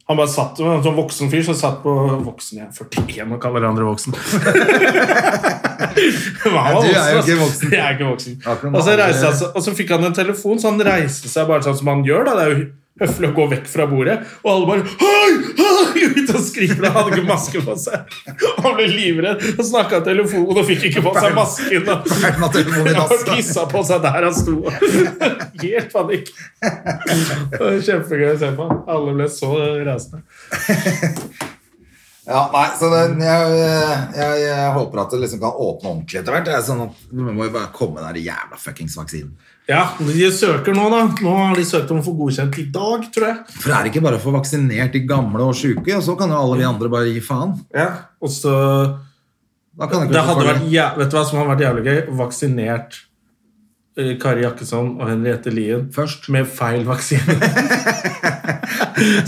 S1: Han bare satt, det var en sånn voksen fyr som satt på Voksen, jeg er 41 og kaller andre voksen. Hva var
S2: Nei, du er jo
S1: ass?
S2: ikke voksen.
S1: Jeg er ikke voksen.
S2: Akkurat nå
S1: Og så,
S2: er det-
S1: reiste han, seg- og så fikk han en telefon, så han reiste seg bare sånn som han gjør. Da. Det er jo høflig å gå vekk fra bordet, og alle bare hei, hei! ut og skriker. Han hadde ikke maske på seg. Han ble livredd og snakka i telefonen og fikk ikke på seg masken.
S2: Feilen av telefonen i
S1: Han
S2: dass, da.
S1: pissa på seg der han sto. Helt panikk. Det var Kjempegøy å se på. Alle ble så rasende.
S2: Ja, nei, så det, jeg, jeg, jeg håper at det liksom kan åpne ordentlig etter hvert. Det er sånn at Vi må jo bare komme den der jævla fuckings vaksinen.
S1: Ja, de søker nå, da. Nå har de søkt om å få godkjent i dag, tror jeg.
S2: For det er ikke bare å få vaksinert de gamle og sjuke, og så kan jo alle vi andre bare gi faen.
S1: Ja. Og så
S2: Da kan ikke
S1: Det
S2: folk
S1: hadde
S2: ha
S1: vært, jæ- Vet du hva som hadde vært jævlig gøy? Vaksinert eh, Kari Jakkesson og Henriette Lien
S2: Først.
S1: med feil vaksine.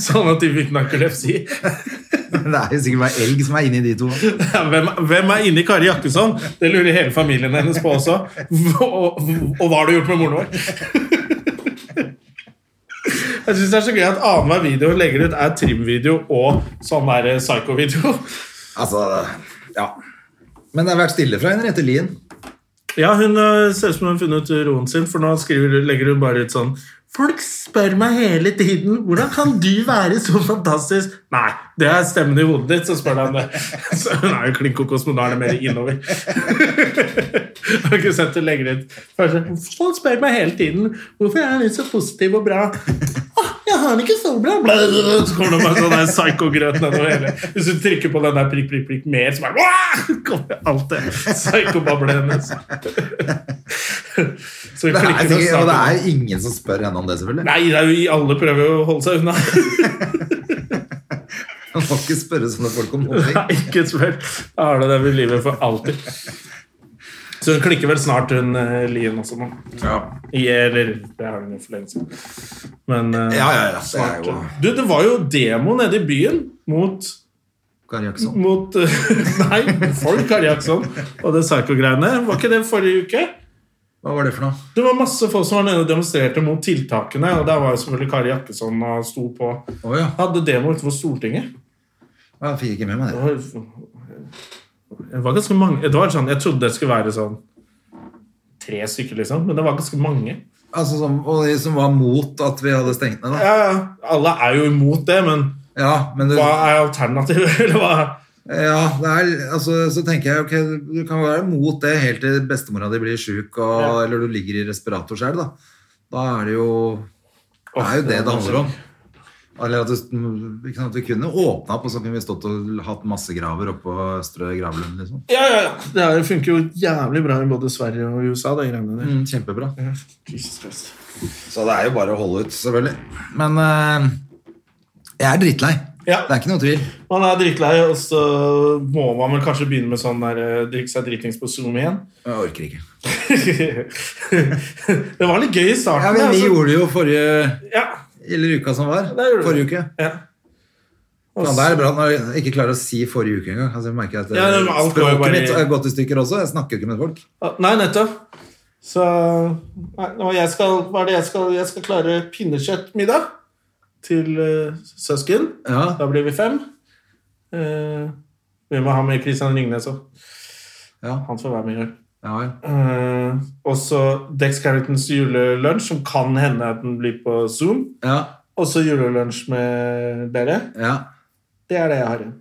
S1: sånn at de fikk narkolepsi.
S2: Det er jo sikkert bare elg som er inni de to.
S1: Ja, Hvem, hvem er inni Kari Jakkesson? Det lurer hele familien hennes på også. Og, og hva har du gjort med moren vår? Jeg synes det er så gøy at annenhver video hun legger ut, er trimvideo og sånn der psycho-video.
S2: Altså, ja. Men det har vært stille fra Henriette Lien.
S1: Ja, hun øh, ser ut som hun har funnet ut roen sin, for nå skriver, legger hun bare ut sånn Folk spør meg hele tiden hvordan kan du være så fantastisk. Nei, det er stemmen i hodet ditt som spør deg om det. Så hun er jo klin kokos, men da er det mer innover. Jeg Har ikke sett hun legger ut Først, Folk spør meg hele tiden hvorfor er jeg så positiv og bra.
S2: Ah,
S1: «Åh, Jeg har det ikke så bra! Bla, bla, bla. Så kommer det bare sånn der psyko-grøt nedover hele. Hvis du trykker på den der prikk, prikk, prikk mer, så bare «Wah!» kommer alt det psyko-bablet hennes. Så vi
S2: Det er,
S1: klikker oss
S2: sikkert, og det
S1: sammen.
S2: er ingen som spør henne om det, selvfølgelig.
S1: Nei, det er jo, alle prøver jo å holde seg unna.
S2: Man må ikke spørre sånne folk om noen ting.
S1: Nei, ikke spør. Da har du dem i livet for alltid. Så hun klikker vel snart, hun eh, Lien også nå.
S2: Ja.
S1: I, eller det har hun jo for lenge siden. Men eh,
S2: Ja, ja, ja, det er
S1: snart,
S2: jo-
S1: Du, det var jo demo nede i byen mot
S2: Kari Jakkesson.
S1: mot eh, Nei, folk, Kari Jackson og det psycho-greiene. Var ikke det forrige uke?
S2: Hva var det for noe?
S1: Det var masse folk som var nede og demonstrerte mot tiltakene, og der var jo selvfølgelig Kari Jakkesson og sto på.
S2: Å ja.
S1: Hadde demo utenfor Stortinget.
S2: Jeg fikk ikke med meg
S1: Det
S2: det.
S1: var, det var ganske mange det var sånn, Jeg trodde det skulle være sånn tre stykker, liksom, men det var ganske mange.
S2: Altså, som, og de som var mot at vi hadde stengt ned, da.
S1: Ja, ja, Alle er jo imot det, men
S2: Ja, men det,
S1: hva er alternativet? Eller hva?
S2: ja, det er, altså, så tenker jeg ok, du kan være mot det helt til bestemora di blir sjuk, og,
S1: Ja.
S2: eller du ligger i respirator selv, da. Da er det jo Det er jo det det handler om. Eller at du, ikke sant, Vi kunne åpna opp, og så kunne vi stått og hatt massegraver oppå Østre gravlund. liksom.
S1: Ja, ja, ja. Det her funker jo jævlig bra i både Sverige og USA, de greiene der.
S2: Mm, kjempebra.
S1: Ja, Jesus Christ.
S2: Så det er jo bare å holde ut, selvfølgelig. Men eh, jeg er drittlei.
S1: Ja.
S2: Det er ikke noe tvil.
S1: Man er drittlei, og så må man vel kanskje begynne med sånn der eh, drikke seg dritings på Zoom igjen.
S2: Jeg orker ikke.
S1: det var litt gøy i starten.
S2: Ja, men Vi
S1: altså.
S2: gjorde det jo forrige
S1: ja,
S2: Eller uka som var.
S1: det gjorde vi.
S2: Forrige uke.
S1: ja. Og
S2: Ja,
S1: så-
S2: det er bra når jeg ikke klarer å si forrige uke engang. Altså, jeg merker at det,
S1: Ja, det var alt går jo
S2: Språket
S1: bare i-
S2: mitt har gått i stykker også. Jeg snakker jo ikke med folk.
S1: Ah, Nei, nettopp. Så nei, nå, jeg skal, Hva er det jeg skal Jeg skal klare pinnekjøttmiddag til eh, søsken.
S2: Ja,
S1: Da blir vi fem. Eh, vi må ha med Kristian Ringnes òg.
S2: ja,
S1: Han får være med. i år.
S2: ja. vel.
S1: Eh, og så Dex Carringtons julelunsj, som kan hende at den blir på Zoom.
S2: ja,
S1: Og så julelunsj med dere.
S2: ja.
S1: Det er det jeg har igjen.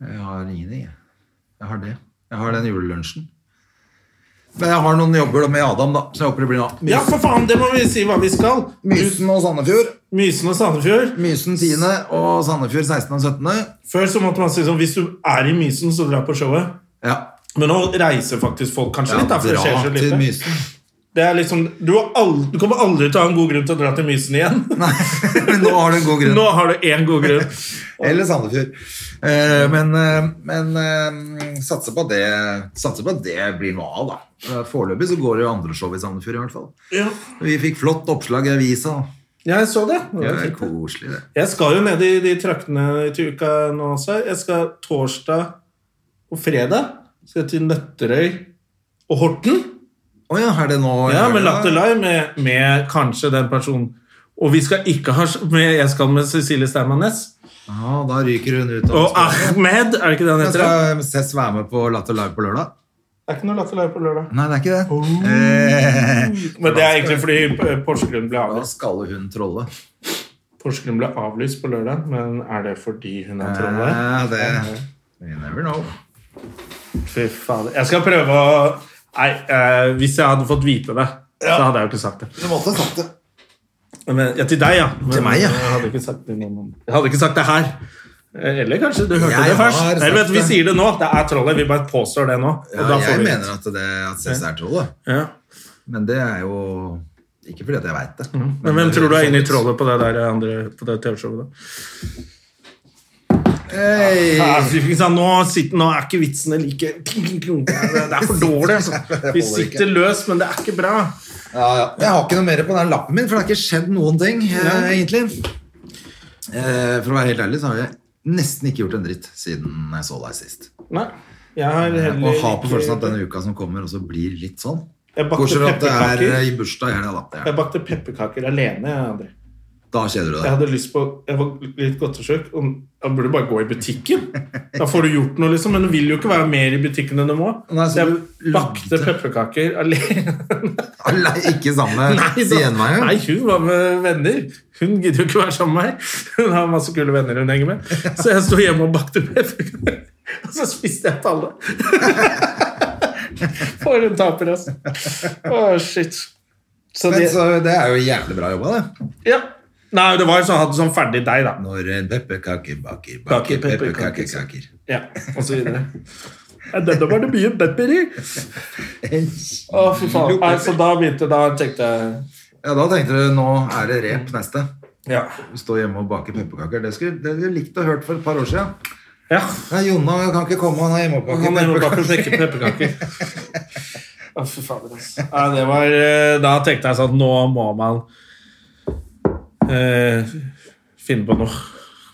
S2: Jeg har ingenting, jeg. Jeg har det. Jeg har den julelunsjen. Men jeg har noen jobber med Adam, da, så jeg håper det blir noe.
S1: Ja, for faen! Det må vi si hva vi skal.
S2: Mysen og Sandefjord.
S1: Mysen og Sandefjord.
S2: Mysen 10. og Sandefjord 16. og 17.
S1: Før så måtte man si sånn Hvis du er i Mysen, så dra på showet.
S2: Ja.
S1: Men nå reiser faktisk folk kanskje litt. Da, for det skjer
S2: Dra
S1: så
S2: til
S1: lite.
S2: Mysen.
S1: Det er liksom, du, har aldri, du kommer aldri til å ha en god grunn til å dra til Mysen igjen.
S2: Nei, men nå har du en god grunn.
S1: Nå har du én god grunn.
S2: Eller Sandefjord. Eh,
S1: Mm.
S2: men eh, men eh, satser på at det, satser på at det blir noe av, da. Eh, Foreløpig så går det jo andre show i Sandefjord, i hvert fall.
S1: Ja.
S2: Vi fikk flott oppslag i avisa.
S1: Jeg så det.
S2: Det er koselig, det.
S1: Jeg skal jo ned i de traktene til uka nå også. Jeg skal torsdag og fredag skal jeg til Nøtterøy og Horten.
S2: Å ja, er det nå
S1: Ja, med Latter Live, med, med kanskje den personen. Og vi skal ikke ha med, Jeg skal med Cecilie Steinmann Næss.
S2: Ja, da ryker hun ut. av
S1: Og
S2: spillet.
S1: Ahmed, er det ikke det han
S2: Men
S1: heter? da?
S2: Skal Cess være med på Latter Live på lørdag?
S1: Det er ikke noe Latter Live på lørdag.
S2: Nei, det er ikke det. Eh,
S1: Men det er egentlig fordi Porsgrunn ble
S2: da
S1: avlyst.
S2: skal hun trolle.
S1: Porsgrunn ble avlyst på lørdag, men er det fordi hun er trønder?
S2: Ja, Eh, det You never know.
S1: Fy fader. Jeg skal prøve å Nei, eh, hvis jeg hadde fått vite det, så hadde jeg jo ikke sagt det.
S2: Du måtte sagt det.
S1: Men, ja, til deg, ja. Men,
S2: Til meg, ja.
S1: Jeg hadde ikke sagt det, til noen. jeg hadde ikke sagt det her. Eh, Eller kanskje du hørte
S2: Jeg
S1: det først.
S2: har sagt
S1: Eller vet, du, Vi
S2: det.
S1: sier det nå. Det er trollet. Vi bare påstår det nå. og
S2: Ja,
S1: da får
S2: jeg
S1: vi-
S2: mener at det at CS er trollet.
S1: ja.
S2: Men det er jo ikke fordi at jeg veit det.
S1: Mm. Men hvem tror du er inne i trollet på det der andre på det TV-showet? da? Ja,
S2: Hey.
S1: altså, ikke sant? Nå, sitter, nå er ikke vitsene like Det er det er for dårlig. altså. Vi sitter løs, men det er ikke bra.
S2: Ja, ja. Jeg har ikke noe mer på den lappen min, for det har ikke skjedd noen ting, eh, egentlig. Eh, for å være helt ærlig, så har jeg nesten ikke gjort en dritt siden jeg så deg sist.
S1: Nei, jeg har
S2: Eh, Og
S1: heller
S2: har på
S1: ikke-
S2: følelsen at denne uka som kommer, også blir litt sånn.
S1: Jeg bakte
S2: Bortsett fra at det er
S1: pepperkaker.
S2: eh, i bursdag i helga, da. Det er-
S1: Jeg bakte pepperkaker alene. jeg, André.
S2: Da kjeder du
S1: Jeg
S2: deg.
S1: hadde lyst på Jeg var litt godtesjuk. og Jeg burde bare gå i butikken. Da får du gjort noe, liksom. Men du vil jo ikke være mer i butikken enn du må.
S2: Nei, så
S1: Så jeg
S2: du
S1: bakte
S2: lagde-
S1: pepperkaker alene.
S2: Alle er ikke sammen
S1: Nei, så,
S2: igjen meg
S1: nei, hun var med venner. Hun gidder jo ikke være sammen med meg. Hun har masse kule venner hun henger med. Så jeg sto hjemme og bakte pepperkaker. Og så spiste jeg palle. For en taper, altså. Å, shit. Så
S2: Men
S1: de,
S2: så, det er jo jævlig bra jobba, det.
S1: ja. Nei, det var jo sånn, hadde sånn ferdig deg, da.
S2: Når en pepperkake baker,
S1: Baker
S2: baker
S1: pepperkaker.
S2: pepperkakekaker.
S1: Ja, og så videre. Ja, Denne var det mye pepper i. Å, fy faen. Nei, så da begynte Da tenkte jeg
S2: Ja, da tenkte du nå er det rep neste.
S1: Ja.
S2: Stå hjemme og bake pepperkaker. Det skulle det skulle jeg likt å hørt for et par år siden.
S1: ja.
S2: Nei, Jonna kan ikke komme, han har hjemmeoppbaket
S1: Han er jo bak og
S2: pepperkaker.
S1: sjekker pepperkaker. Å, fy fader, altså. Nei, det var, eh, da tenkte jeg sånn Nå må man eh, finne på noe.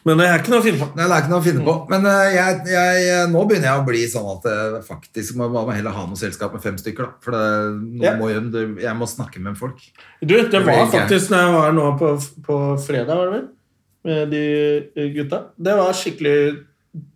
S1: Men det er ikke noe å finne på.
S2: Nei, det er ikke noe å finne på. Men eh, jeg, jeg, nå begynner jeg å bli sånn at jeg faktisk må, må heller ha noe selskap med fem stykker, da. For det, noen
S1: Ja.
S2: må hjem, det- jeg må snakke med folk.
S1: Du, det var
S2: blir gøy.
S1: faktisk når jeg var nå på, på fredag, var det vel, med de eh, gutta. Det var skikkelig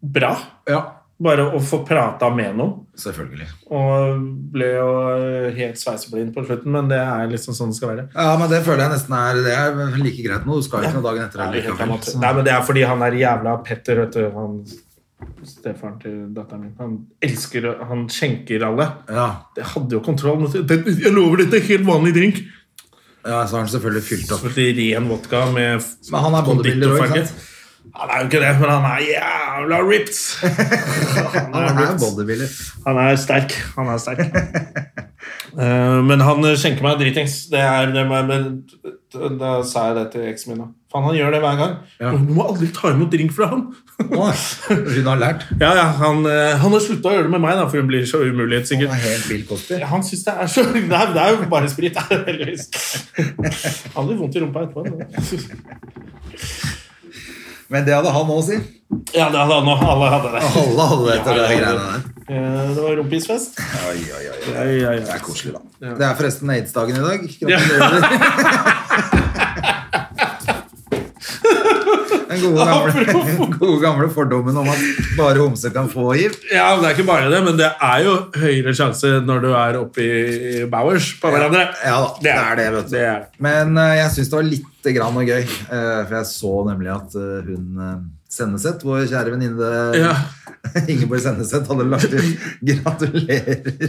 S1: bra.
S2: Ja,
S1: Bare å få prata med noen.
S2: selvfølgelig.
S1: Og ble jo eh, helt sveiseblind på slutten, men det er liksom sånn det skal være.
S2: Ja, men det føler jeg nesten er Det er like greit nå. Du skal jo ikke noe dagen etter
S1: Nei, helt
S2: likevel.
S1: annet.
S2: så-
S1: Nei, men Det er fordi han er jævla Petter, vet du. Han stefaren til datteren min. Han elsker å- Han skjenker alle.
S2: Ja.
S1: Det hadde jo kontroll. men det- det- Jeg lover dette er helt vanlig drink.
S2: ja, så har han selvfølgelig fylt opp.
S1: Selvfølgelig ren vodka med f-
S2: Men han er bodybuilder også, ikke
S1: konditorfarge.
S2: sant?
S1: Han er jo ikke det, men han er jævla ripped. Han
S2: Han er
S1: ripped.
S2: bodybuilder.
S1: Han er sterk. Han er sterk. Eh, men han skjenker meg dritings. Det er, det er, men, da sa jeg det til eksen min. da. Faen, han gjør det hver gang.
S2: Ja.
S1: Men Du må aldri ta imot drink fra han.
S2: Å, Hun har lært.
S1: ja, ja, Han, eh, han har slutta å gjøre det med meg, da, for hun blir så umulighet,
S2: Han
S1: sikkert.
S2: er helt vill Cosby.
S1: Ja, Han syns det er så Det er, det er jo bare sprit, det er heldigvis. Han blir vondt i rumpa etterpå. men-
S2: Men det hadde han òg, si.
S1: Ja, det hadde han òg. Alle hadde det.
S2: Alle hadde etter
S1: Ja,
S2: de
S1: ja,
S2: greiene der.
S1: Eh, Det var rumpisfest.
S2: Oi, oi, oi,
S1: Ja,
S2: oi.
S1: ja,
S2: Det
S1: ja.
S2: er koselig, da.
S1: Ja.
S2: Det er forresten aids-dagen i dag. Gratulerer. Den gode gamle, gode gamle fordommen om at bare homser kan få hiv.
S1: Ja, men Det er ikke bare det, men det er jo høyere sjanse når du er oppi Bowers på hverandre.
S2: Ja da, det er det, vet du.
S1: Det er.
S2: Men eh, jeg syns det var litt grann noe gøy. eh, for jeg så nemlig at eh, hun uh, Senneset, vår kjære venninne
S1: Ja.
S2: Ingeborg Senneset, hadde lagt ut 'Gratulerer'.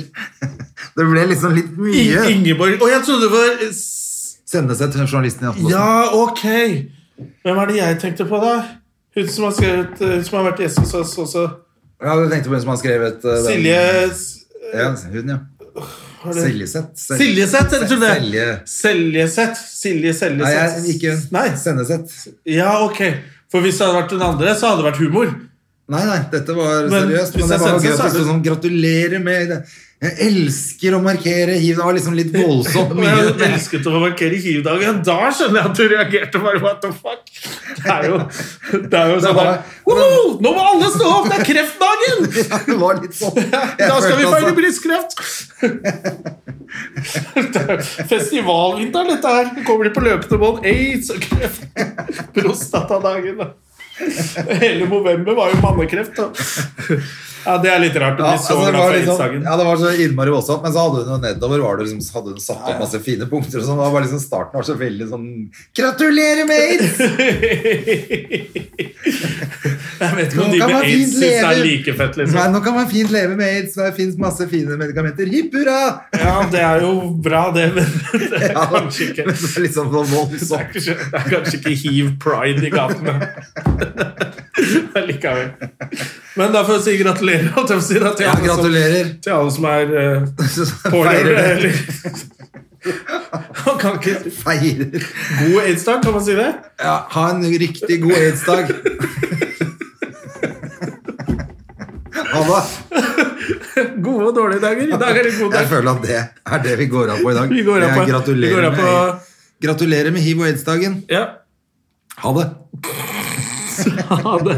S2: det ble liksom litt mye.
S1: In Ingeborg Å, jeg trodde det var s-
S2: Senneset, journalisten i Aftenposten.
S1: Ja, ok! Hvem er det jeg tenkte på, da? Hun som har, skrevet, eh, som har vært gjest hos oss også.
S2: Ja, du tenkte på hvem som har skrevet eh, den-
S1: Silje s-
S2: Ja, hun, ja.
S1: har det-
S2: Siljeseth. Sel-
S1: Siljeseth, jeg trodde det.
S2: Selje-
S1: Seljeseth. Silje Seljeseth.
S2: Nei, jeg, ikke hun.
S1: Nei.
S2: Senneset.
S1: Ja, ok. For hvis det hadde vært den andre, så hadde det vært humor.
S2: Nei, nei, dette var
S1: Men
S2: seriøst.
S1: hvis
S2: Men det
S1: jeg
S2: var
S1: sender
S2: gøy
S1: det, så er
S2: at det sto
S1: det-
S2: sånn 'gratulerer med det'. Jeg elsker å markere hiv. Det var liksom litt voldsomt
S1: Og jeg
S2: mye.
S1: elsket å markere hivdagen. Da skjønner jeg at du reagerte. bare, what the fuck? Det er jo, det er jo
S2: Det
S1: sånn
S2: var-
S1: der, «Woho! Nå må alle stå opp! Det er kreftdagen!
S2: Ja, det var litt sånn. Jeg
S1: Da skal
S2: følte
S1: vi
S2: altså-
S1: feire brystkreft! Det er Festivalvinteren, dette her. Det Kommer de på løpende bånd? Aids og kreft. Prostatadagen. da. Hele november var jo mannekreft. da. Ja, det er litt sånn rart å
S2: Ja,
S1: bli så
S2: altså, det,
S1: glad
S2: var
S1: for
S2: liksom,
S1: Riksdagen.
S2: ja, det var så innmari voldsomt, men så hadde hun jo nedover var det liksom, så hadde hun satt opp masse fine punkter. Og sånn, det var bare liksom Starten var så veldig sånn Gratulerer med aids!
S1: Jeg vet ikke om
S2: Nå
S1: de
S2: kan
S1: med
S2: man
S1: aids
S2: fint
S1: syns det er
S2: leve.
S1: like fett,
S2: Nei,
S1: liksom.
S2: nå kan man fint leve med aids, det fins masse fine medikamenter. Hipp hurra!
S1: Ja, det er jo bra, det, men det er
S2: Ja, men
S1: kanskje
S2: det
S1: ikke
S2: er litt sånn
S1: det er
S2: voldsomt.
S1: kanskje, det er kanskje ikke hiv pride i gatene. Men Likevel. Men da får jeg si gratulerer holdt jeg på å si, da, til,
S2: Ja,
S1: alle som,
S2: gratulerer.
S1: til alle som er eh,
S2: Feirer
S1: pårørende.
S2: det.
S1: Eller. Man kan ikke
S2: Feirer.
S1: God aids-dag, kan man si det?
S2: Ja, ha en riktig god aids-dag. Ha det.
S1: Gode og dårlige dager. I dag er det god
S2: Jeg
S1: dag.
S2: føler at det er det vi går av på i dag.
S1: Vi går av
S2: Jeg
S1: på- vi
S2: gratulerer
S1: går av på-
S2: med, gratulerer med hiv- og aids-dagen.
S1: Ja.
S2: Ha det.
S1: Ha det.